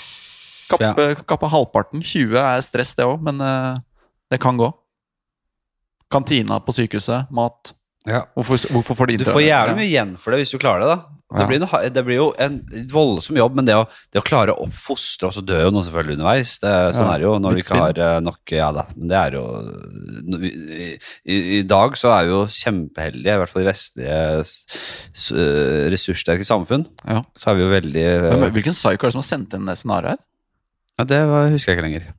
S1: Kappe, kappe eh, halvparten. 20 er stress, det òg, men eh, det kan gå. Kantina på sykehuset, mat.
S2: Ja.
S1: Hvorfor, hvorfor får de
S2: Du får jævlig mye igjen for det hvis du klarer det, da. Det
S1: Ja.
S2: blir, noe, det blir jo en voldsom jobb, men det å, det å klare å oppfostre Og så dør jo noen selvfølgelig underveis. Det, sånn
S1: Ja.
S2: er det jo når du
S1: Litt
S2: ikke har eh, nok Ja da, men det er jo når vi- i, I dag så er vi jo kjempeheldige, i hvert fall i vestlige s- s- eh, ressurssterke samfunn.
S1: Ja.
S2: Så er vi jo veldig eh,
S1: Men Hvilken psycho er det som har sendt inn det scenarioet her?
S2: Ja, det var, husker jeg ikke lenger.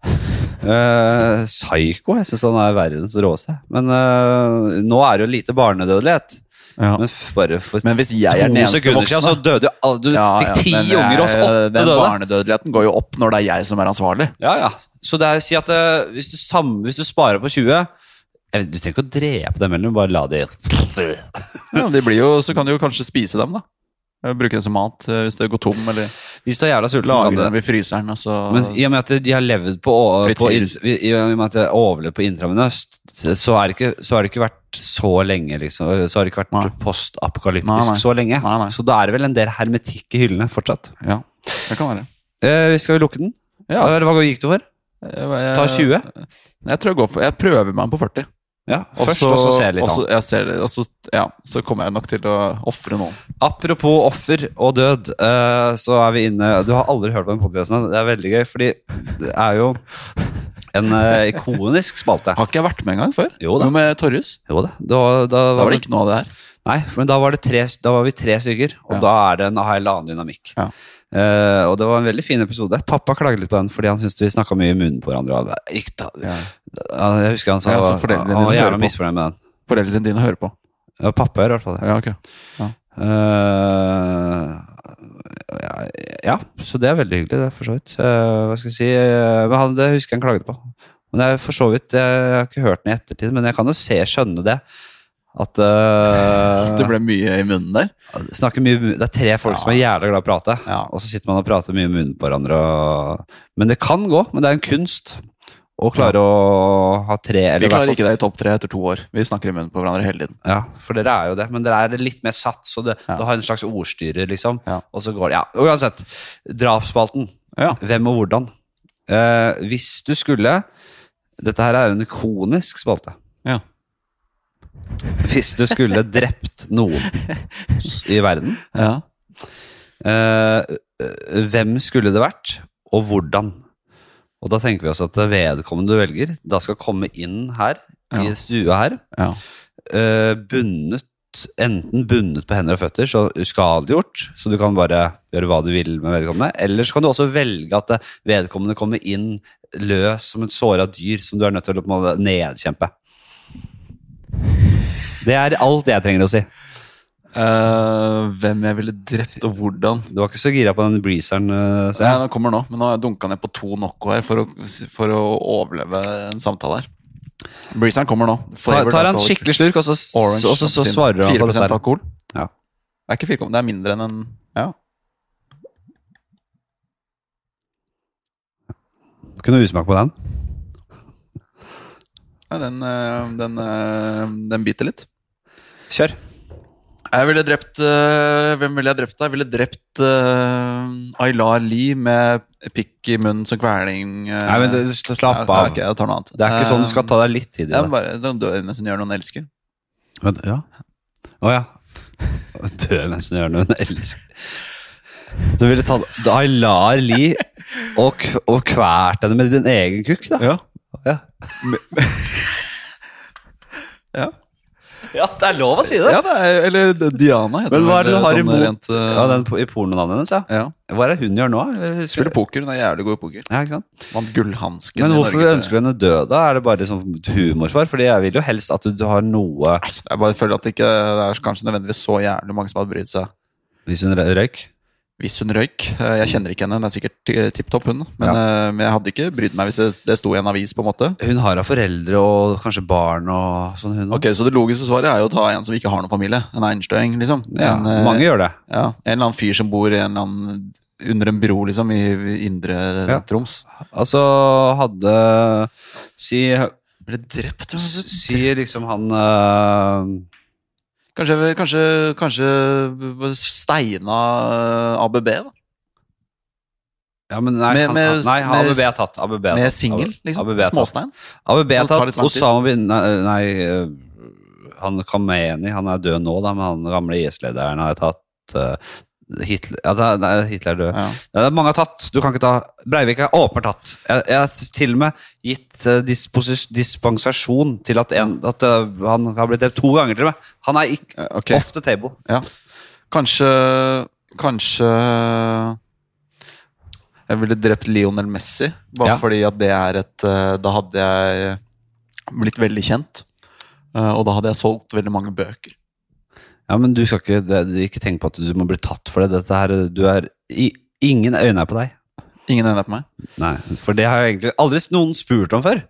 S2: Eh, psyko, jeg syns han er verdens råeste. Men eh, nå er det jo lite barnedødelighet. Men f bare for
S1: Men hvis jeg er den
S2: to
S1: eneste
S2: sekunder siden, så
S1: voksne
S2: døde jo alle. Du fikk ti
S1: men det er-
S2: unger og åtte
S1: Den
S2: døde.
S1: barnedødeligheten går jo opp når det er jeg som er ansvarlig.
S2: Ja, ja. Så det er, si at eh, hvis, du sam, hvis du sparer på 20 jeg vet, Du trenger ikke å drepe dem heller, bare la de
S1: Ja, de blir jo, Så kan du jo kanskje spise dem, da. Eh, Bruke dem som mat eh, hvis det går tom, eller
S2: Hvis du er jævla sulten, kan
S1: lagre
S2: du
S1: dem i fryseren. Og så,
S2: Men i og med at de har levd på, på
S1: Frityr.
S2: i, I og med at jeg overlevde på intravenøst, så er det ikke, så har det ikke vært så lenge, liksom. Så har det ikke
S1: Nei.
S2: vært
S1: Nei, nei.
S2: postapokalyptisk så lenge.
S1: Nei, nei.
S2: Så da er det vel en del hermetikk i hyllene fortsatt.
S1: Ja, det kan være.
S2: Eh, skal vi lukke den?
S1: Ja.
S2: Eller hva gikk du for?
S1: Jeg-
S2: Ta 20?
S1: Eh, Jeg tror jeg går for Jeg prøver meg på 40.
S2: Ja, først, og så ser jeg litt
S1: og så- jeg
S2: an.
S1: ser det, og så, ja, så kommer jeg nok til å ofre noen.
S2: Apropos offer og død, eh, så er vi inne Du har aldri hørt på den podkasten, det er veldig gøy, fordi det er jo en eh, ikonisk spalte.
S1: Har ikke jeg vært med engang før?
S2: Jo da.
S1: Noe med Torjus?
S2: Jo da. Da, da,
S1: Da var det ikke noe av det her.
S2: Nei, men da var, det tre, da var vi tre stykker, og
S1: Ja.
S2: da er det en helt annen dynamikk.
S1: Ja.
S2: Eh, og det var en veldig fin episode. Pappa klagde litt på den fordi han syntes vi snakka mye i munnen på hverandre. og det gikk da-
S1: Ja.
S2: Ja, Jeg husker han sa
S1: Ja, så
S2: han
S1: foreldrene
S2: var
S1: dine hører på.
S2: jævla misfornøyd med den.
S1: Foreldrene dine hører på.
S2: Det var pappa gjør i hvert fall det.
S1: Ja, ok.
S2: Eh, ja, så det er veldig hyggelig, det, for så vidt. Eh, hva skal jeg si eh, men han, Det husker jeg han klagde på. Men jeg, for så vidt, jeg, har ikke hørt den i ettertid, men jeg kan jo se, skjønne det. At eh,
S1: Det ble mye i munnen der.
S2: snakker mye, Det er tre folk som er jævla glad i å prate,
S1: Ja.
S2: og så sitter man og prater mye i munnen på hverandre. Og, men det kan gå, men det er en kunst å klare å ha tre eller
S1: Vi
S2: i hvert
S1: klarer
S2: fall
S1: ikke det i topp tre etter to år. Vi snakker i munnen på hverandre hele tiden.
S2: Ja, for dere er jo det, men dere er litt mer satt, så det,
S1: Ja.
S2: du har en slags ordstyrer, liksom.
S1: Ja.
S2: Og så går det, ja, uansett. Drapsspalten.
S1: Ja.
S2: Hvem og hvordan. Eh, hvis du skulle Dette her er jo en ikonisk spalte.
S1: Ja.
S2: Hvis du skulle drept noen s- i verden,
S1: Ja.
S2: eh, eh, hvem skulle det vært, og hvordan? Og da tenker vi oss at vedkommende du velger, da skal komme inn her,
S1: Ja.
S2: i stua her,
S1: Ja.
S2: eh, bundet Enten bundet på hender og føtter, så uskadeliggjort, så du kan bare gjøre hva du vil med vedkommende. Eller så kan du også velge at eh, vedkommende kommer inn løs som et såra dyr som du er nødt til å på en måte nedkjempe. Det er alt jeg trenger å si.
S1: Eh, hvem jeg ville drept, og hvordan.
S2: Du var ikke så gira på den breezeren. eh,
S1: Så jeg,
S2: ser
S1: den
S2: jeg.
S1: kommer nå, men nå har jeg dunka ned på to nokko her for å, for å overleve en samtale her. Breezeren kommer nå.
S2: Ta,
S1: Flavored
S2: tar han
S1: alcoholic
S2: skikkelig slurk, og så, s-
S1: orange
S2: og så, så
S1: appelsin.
S2: svarer han på
S1: 4%
S2: dette. her.
S1: alkohol.
S2: Ja.
S1: Det er ikke 4, det er mindre enn en Ja.
S2: Kunne du usmak på den?
S1: Nei, Den, eh, den, eh, den biter litt.
S2: Kjør.
S1: Jeg ville drept eh, Hvem ville jeg drept da? Jeg ville drept eh, Aylar Lee med pikk i munnen som kveling. eh.
S2: Nei, men det, Slapp
S1: Ja,
S2: av.
S1: ok, jeg tar noe annet. Eh,
S2: Det er ikke sånn du skal ta deg litt tid i
S1: Ja,
S2: det.
S1: men bare, Den dør mens hun gjør noe hun elsker.
S2: Vent, ja. Å ja. Dø mens hun gjør noe hun elsker. Du ville tatt Aylar Lie og, k- og kvært henne med din egen kukk, da?
S1: Ja.
S2: Ja.
S1: Ja.
S2: det er lov å si
S1: Ja, det er, eller Diana heter
S2: Men hva er det
S1: vel,
S2: du har
S1: sånn
S2: imot-
S1: Rent, eh,
S2: Ja, den på, I pornonavnet hennes, ja.
S1: ja.
S2: Hva er det hun gjør nå? Jeg husker-
S1: Spiller poker, hun er jævlig god i poker.
S2: Ja, ikke sant?
S1: Vant gullhansken
S2: Men
S1: i
S2: hvorfor
S1: Norge.
S2: ønsker du henne død, da? Er det bare sånn humor for? Fordi jeg vil jo helst at du, du har noe
S1: Jeg bare føler at det ikke det er kanskje nødvendigvis så jævlig mange som hadde brydd seg.
S2: Hvis hun rø- røyk?
S1: Hvis hun røyk eh, Jeg kjenner ikke henne, hun er sikkert eh, tipp topp, hun. Men,
S2: Ja.
S1: eh, men jeg hadde ikke brydd meg hvis det, det sto i en avis, på en måte.
S2: Hun har da foreldre og kanskje barn og sånn, hun
S1: Ok, Så det logiske svaret er jo å ta en som ikke har noen familie. En einstøing, liksom.
S2: Ja,
S1: en, eh,
S2: mange gjør det.
S1: ja, en eller annen fyr som bor i en eller annen, under en bro, liksom, i i indre
S2: Ja.
S1: Troms.
S2: Altså hadde Si,
S1: Ble drept, altså.
S2: s- si liksom han eh,
S1: Kanskje, kanskje, kanskje steina eh, ABB, da?
S2: Ja, men nei,
S1: Med-
S2: han,
S1: med-
S2: han- nei
S1: med-
S2: ABB er tatt. ABB er
S1: Med
S2: tatt.
S1: singel, liksom?
S2: ABB er tatt.
S1: Småstein?
S2: ABB er
S1: Det tar litt
S2: tatt.
S1: lang tid.
S2: Osama bin Nei, nei eh, han Kameni, han er død nå, da, men han gamle IS-lederen har jeg tatt. eh, Hitler, ja, det er- det er- Hitler er død.
S1: Ja.
S2: Ja, det er mange har tatt. Du kan ikke ta Breivik er åpenbart tatt. Jeg, jeg har til og med gitt eh, disposis, dispensasjon til at, en, at eh, han har blitt drept to ganger, til og med. Han er ikke
S1: Eh, ok.
S2: off the table.
S1: Ja. Kanskje Kanskje jeg ville drept Lionel Messi, bare
S2: Ja.
S1: fordi at det er et eh, Da hadde jeg blitt veldig kjent. eh, Og da hadde jeg solgt veldig mange bøker.
S2: Ja, men du skal ikke, det, ikke tenke på at du må bli tatt for det. Dette her, du er i, Ingen øyne er på deg.
S1: Ingen ender på meg.
S2: Nei, for det har jeg egentlig aldri noen spurt om før.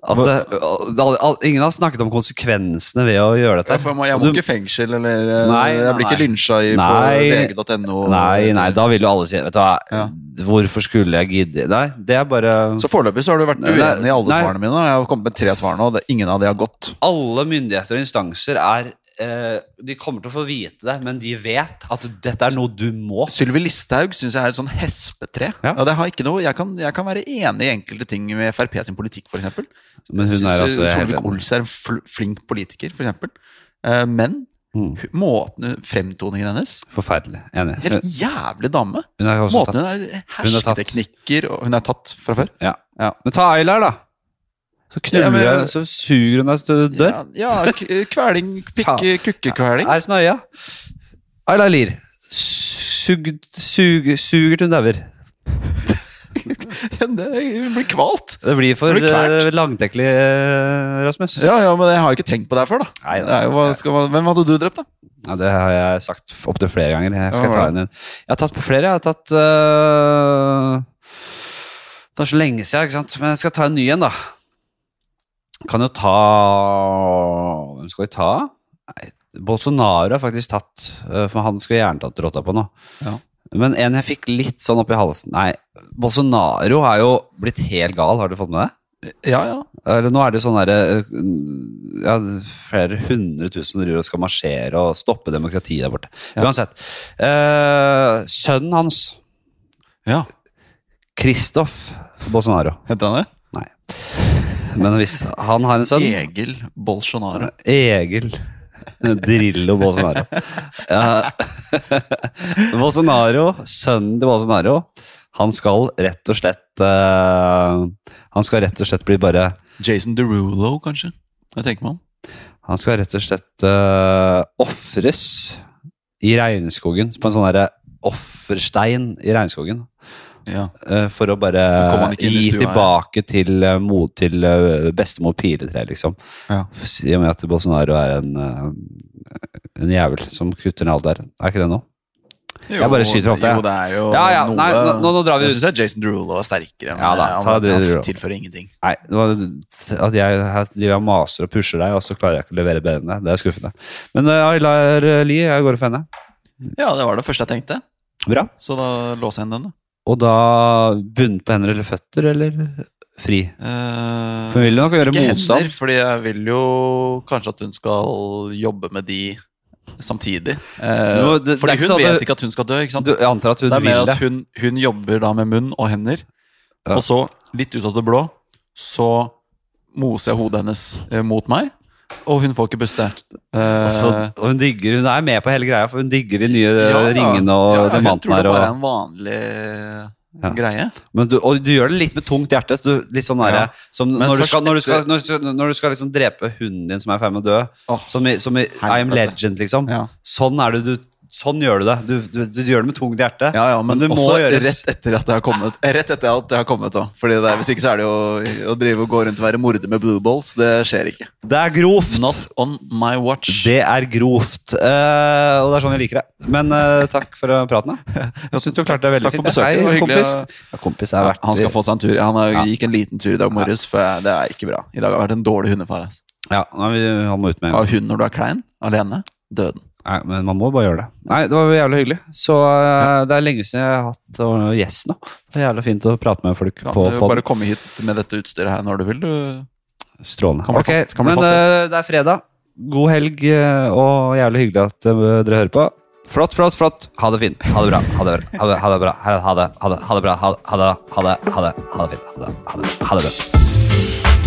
S2: At,
S1: Hva-
S2: eh, al- al- ingen har snakket om konsekvensene ved å gjøre dette.
S1: Ja, for jeg må, jeg må
S2: Du-
S1: ikke i fengsel, eller eh,
S2: Nei,
S1: Jeg blir
S2: nei,
S1: ikke lynsja i,
S2: Nei.
S1: på vg.no.
S2: Nei, nei, da vil jo alle si Vet du hva,
S1: Ja.
S2: hvorfor skulle jeg gidde? Nei, det er bare
S1: Så foreløpig så har du vært
S2: Nei,
S1: uenig
S2: nei,
S1: i alle
S2: nei.
S1: svarene mine. Jeg har kommet med tre svar nå, og det, ingen av de har gått.
S2: Alle myndigheter og instanser er eh, De kommer til å få vite det, men de vet at dette er noe du må.
S1: Sylvi Listhaug syns jeg er et sånn hespetre.
S2: Ja.
S1: Og det har ikke noe, jeg, kan, jeg kan være enig i enkelte ting med Frp sin politikk, f.eks.
S2: Men hun er altså helt enig.
S1: Solvik-Olsen er en fl flink politiker, f.eks. Uh, men
S2: Mm.
S1: hu- måten, fremtoningen hennes
S2: Forferdelig. Enig.
S1: Helt jævlig dame.
S2: Hun er også
S1: Måten
S2: tatt.
S1: hun er
S2: Hun er tatt.
S1: hersketeknikker og Hun er tatt fra før.
S2: Ja.
S1: Ja.
S2: Men ta Aylar, da. Så
S1: Ja,
S2: knuller
S1: men-
S2: jeg, så suger hun deg til du dør.
S1: Ja, ja, k- kveling, pikke, kukkekveling.
S2: Er snøya. Aylar Lier. Sug, sug, suger til hun dauer.
S1: Ja, igjen. Det jeg blir kvalt.
S2: Det blir for
S1: Det blir kvært.
S2: eh, langtekkelig, eh, Rasmus.
S1: Ja, ja, men jeg har jo ikke tenkt på det her før, da.
S2: Nei,
S1: Det er jo, hva skal man, hvem hadde du drept, da?
S2: Ja, det har jeg sagt opptil flere ganger. Jeg skal
S1: Ja,
S2: ta
S1: hva er
S2: inn en. Jeg har tatt på flere. Jeg har tatt øh, Det er så lenge siden, ikke sant? men jeg skal ta en ny en, da. Kan jo ta Hvem skal vi ta? Nei, Bolsonaro har faktisk tatt, øh, for han skulle jeg gjerne tatt rotta på nå.
S1: Ja.
S2: Men en jeg fikk litt sånn oppi halsen Nei, Bolsonaro har jo blitt helt gal, har du fått med det?
S1: Ja, ja.
S2: Eller nå er det jo sånn derre eh, ja, Flere hundre tusen driver og skal marsjere og stoppe demokratiet der borte.
S1: Ja.
S2: Uansett. Eh, sønnen hans,
S1: ja.
S2: Kristoff Bolsonaro
S1: Heter han det?
S2: Nei. Men hvis han har en sønn
S1: Egil Bolsonaro.
S2: Egil Drillo Bolsonaro. Ja. Bolsonaro, sønnen til Bolsonaro, han skal rett og slett eh, Han skal rett og slett bli bare
S1: Jason Derulo, kanskje? Det tenker man.
S2: Han skal rett og slett uh, ofres i regnskogen, på en sånn derre offerstein i regnskogen,
S1: Ja.
S2: eh, for å bare
S1: Kom han ikke inn i
S2: gi
S1: stua, ja.
S2: tilbake til, eh, mot, til eh, bestemor Piletre, liksom.
S1: Ja.
S2: I og med at Bolsonaro er en, eh, en jævel som kutter ned alt der. Er ikke det nå? Jeg bare skyter ofte, jeg.
S1: Jo, det er jo
S2: Ja, ja,
S1: noe
S2: nei, nå- nå- nå drar vi
S1: Jeg
S2: ut.
S1: syns Jason Derulo var sterkere. Men
S2: Ja da,
S1: han,
S2: ta
S1: han,
S2: Derulo.
S1: tilfører ingenting.
S2: Nei, det var at jeg her driver jeg og maser og pusher deg, og så klarer jeg ikke å levere bedre enn det. Det er skuffende. Men eh, Aylar eh, Lie, jeg går for henne.
S1: Ja, det var det første jeg tenkte.
S2: Bra.
S1: Så da låser jeg inn den, da.
S2: Og da bundet på hender eller føtter, eller fri?
S1: Eh,
S2: For hun vil nok gjøre
S1: ikke hender,
S2: motstand.
S1: fordi jeg vil jo kanskje at hun skal jobbe med de samtidig. Eh,
S2: Jo, det- det er
S1: fordi
S2: ikke
S1: hun
S2: sånn at
S1: vet
S2: du-
S1: ikke at hun skal dø. ikke sant?
S2: Du, jeg antar at hun
S1: det er mer
S2: vil det.
S1: at hun, hun jobber da med munn og hender,
S2: Ja.
S1: og så, litt ut av det blå, så moser jeg hodet hennes eh, mot meg, og hun får ikke puste. Eh,
S2: Og så- og hun, digger, hun er med på hele greia, for hun digger de nye
S1: ja, ja.
S2: eh, ringene og
S1: Ja, ja,
S2: diamantene
S1: Hun tror
S2: her.
S1: det bare er
S2: Og,
S1: en vanlig
S2: Ja.
S1: greie.
S2: men du, og du gjør det litt med tungt hjerte. Så du, litt sånn der,
S1: Ja.
S2: som
S1: Men
S2: når, du
S1: først
S2: skal, når, du skal,
S1: etter-
S2: når, du skal, når du skal liksom drepe hunden din som er i ferd med å dø, som i, som i I Am
S1: Helvete.
S2: Legend, liksom.
S1: Ja.
S2: Sånn, er det, du, sånn gjør du det. Du, du, du gjør det med tungt hjerte.
S1: Ja, ja, men,
S2: Men det må
S1: også
S2: gjøres.
S1: rett etter at det har kommet. eh, Rett etter at det har kommet også. Fordi det er, Hvis ikke så er det jo å drive og gå rundt og være morder med blue balls. Det skjer ikke.
S2: Det er grovt!
S1: Not on my watch.
S2: Det er grovt. eh, og det er sånn jeg liker det. Men eh, takk for eh, praten. da. Jeg syns du klarte deg veldig
S1: Takk for
S2: fint.
S1: besøket, det var
S2: Hei,
S1: hyggelig
S2: kompis.
S1: å-
S2: Ja, kompis er verdt
S1: Han skal få seg en tur. Han har,
S2: Ja.
S1: gikk en liten tur i dag morges, for jeg- det er ikke bra. I dag har vært en dårlig hundefar. ass.
S2: Ja, nei, vi- han må ut med en
S1: Ha
S2: gang.
S1: hund når du er klein, alene. Døden.
S2: Nei, Men man må bare gjøre det. Nei, det var jævlig hyggelig. Så eh, det er lenge siden jeg har hatt eh, gjest nå. Det er jævlig fint å prate med folk
S1: Kan
S2: på
S1: du
S2: podden.
S1: bare komme hit med dette utstyret her når du vil, du.
S2: Strålende.
S1: Kan bli
S2: Ok,
S1: fast- kan bli
S2: men
S1: fast gjest.
S2: eh, det er fredag. God helg, eh, og jævlig hyggelig at eh, dere hører på. Flott, flott, flott. Ha det fint. Ha det bra. Ha det bra. Ha det, ha det bra. Ha det, ha det, ha det, ha det bra. Ha det, ha det, ha det, ha det, ha det fint. Ha det, ha det, ha det bra.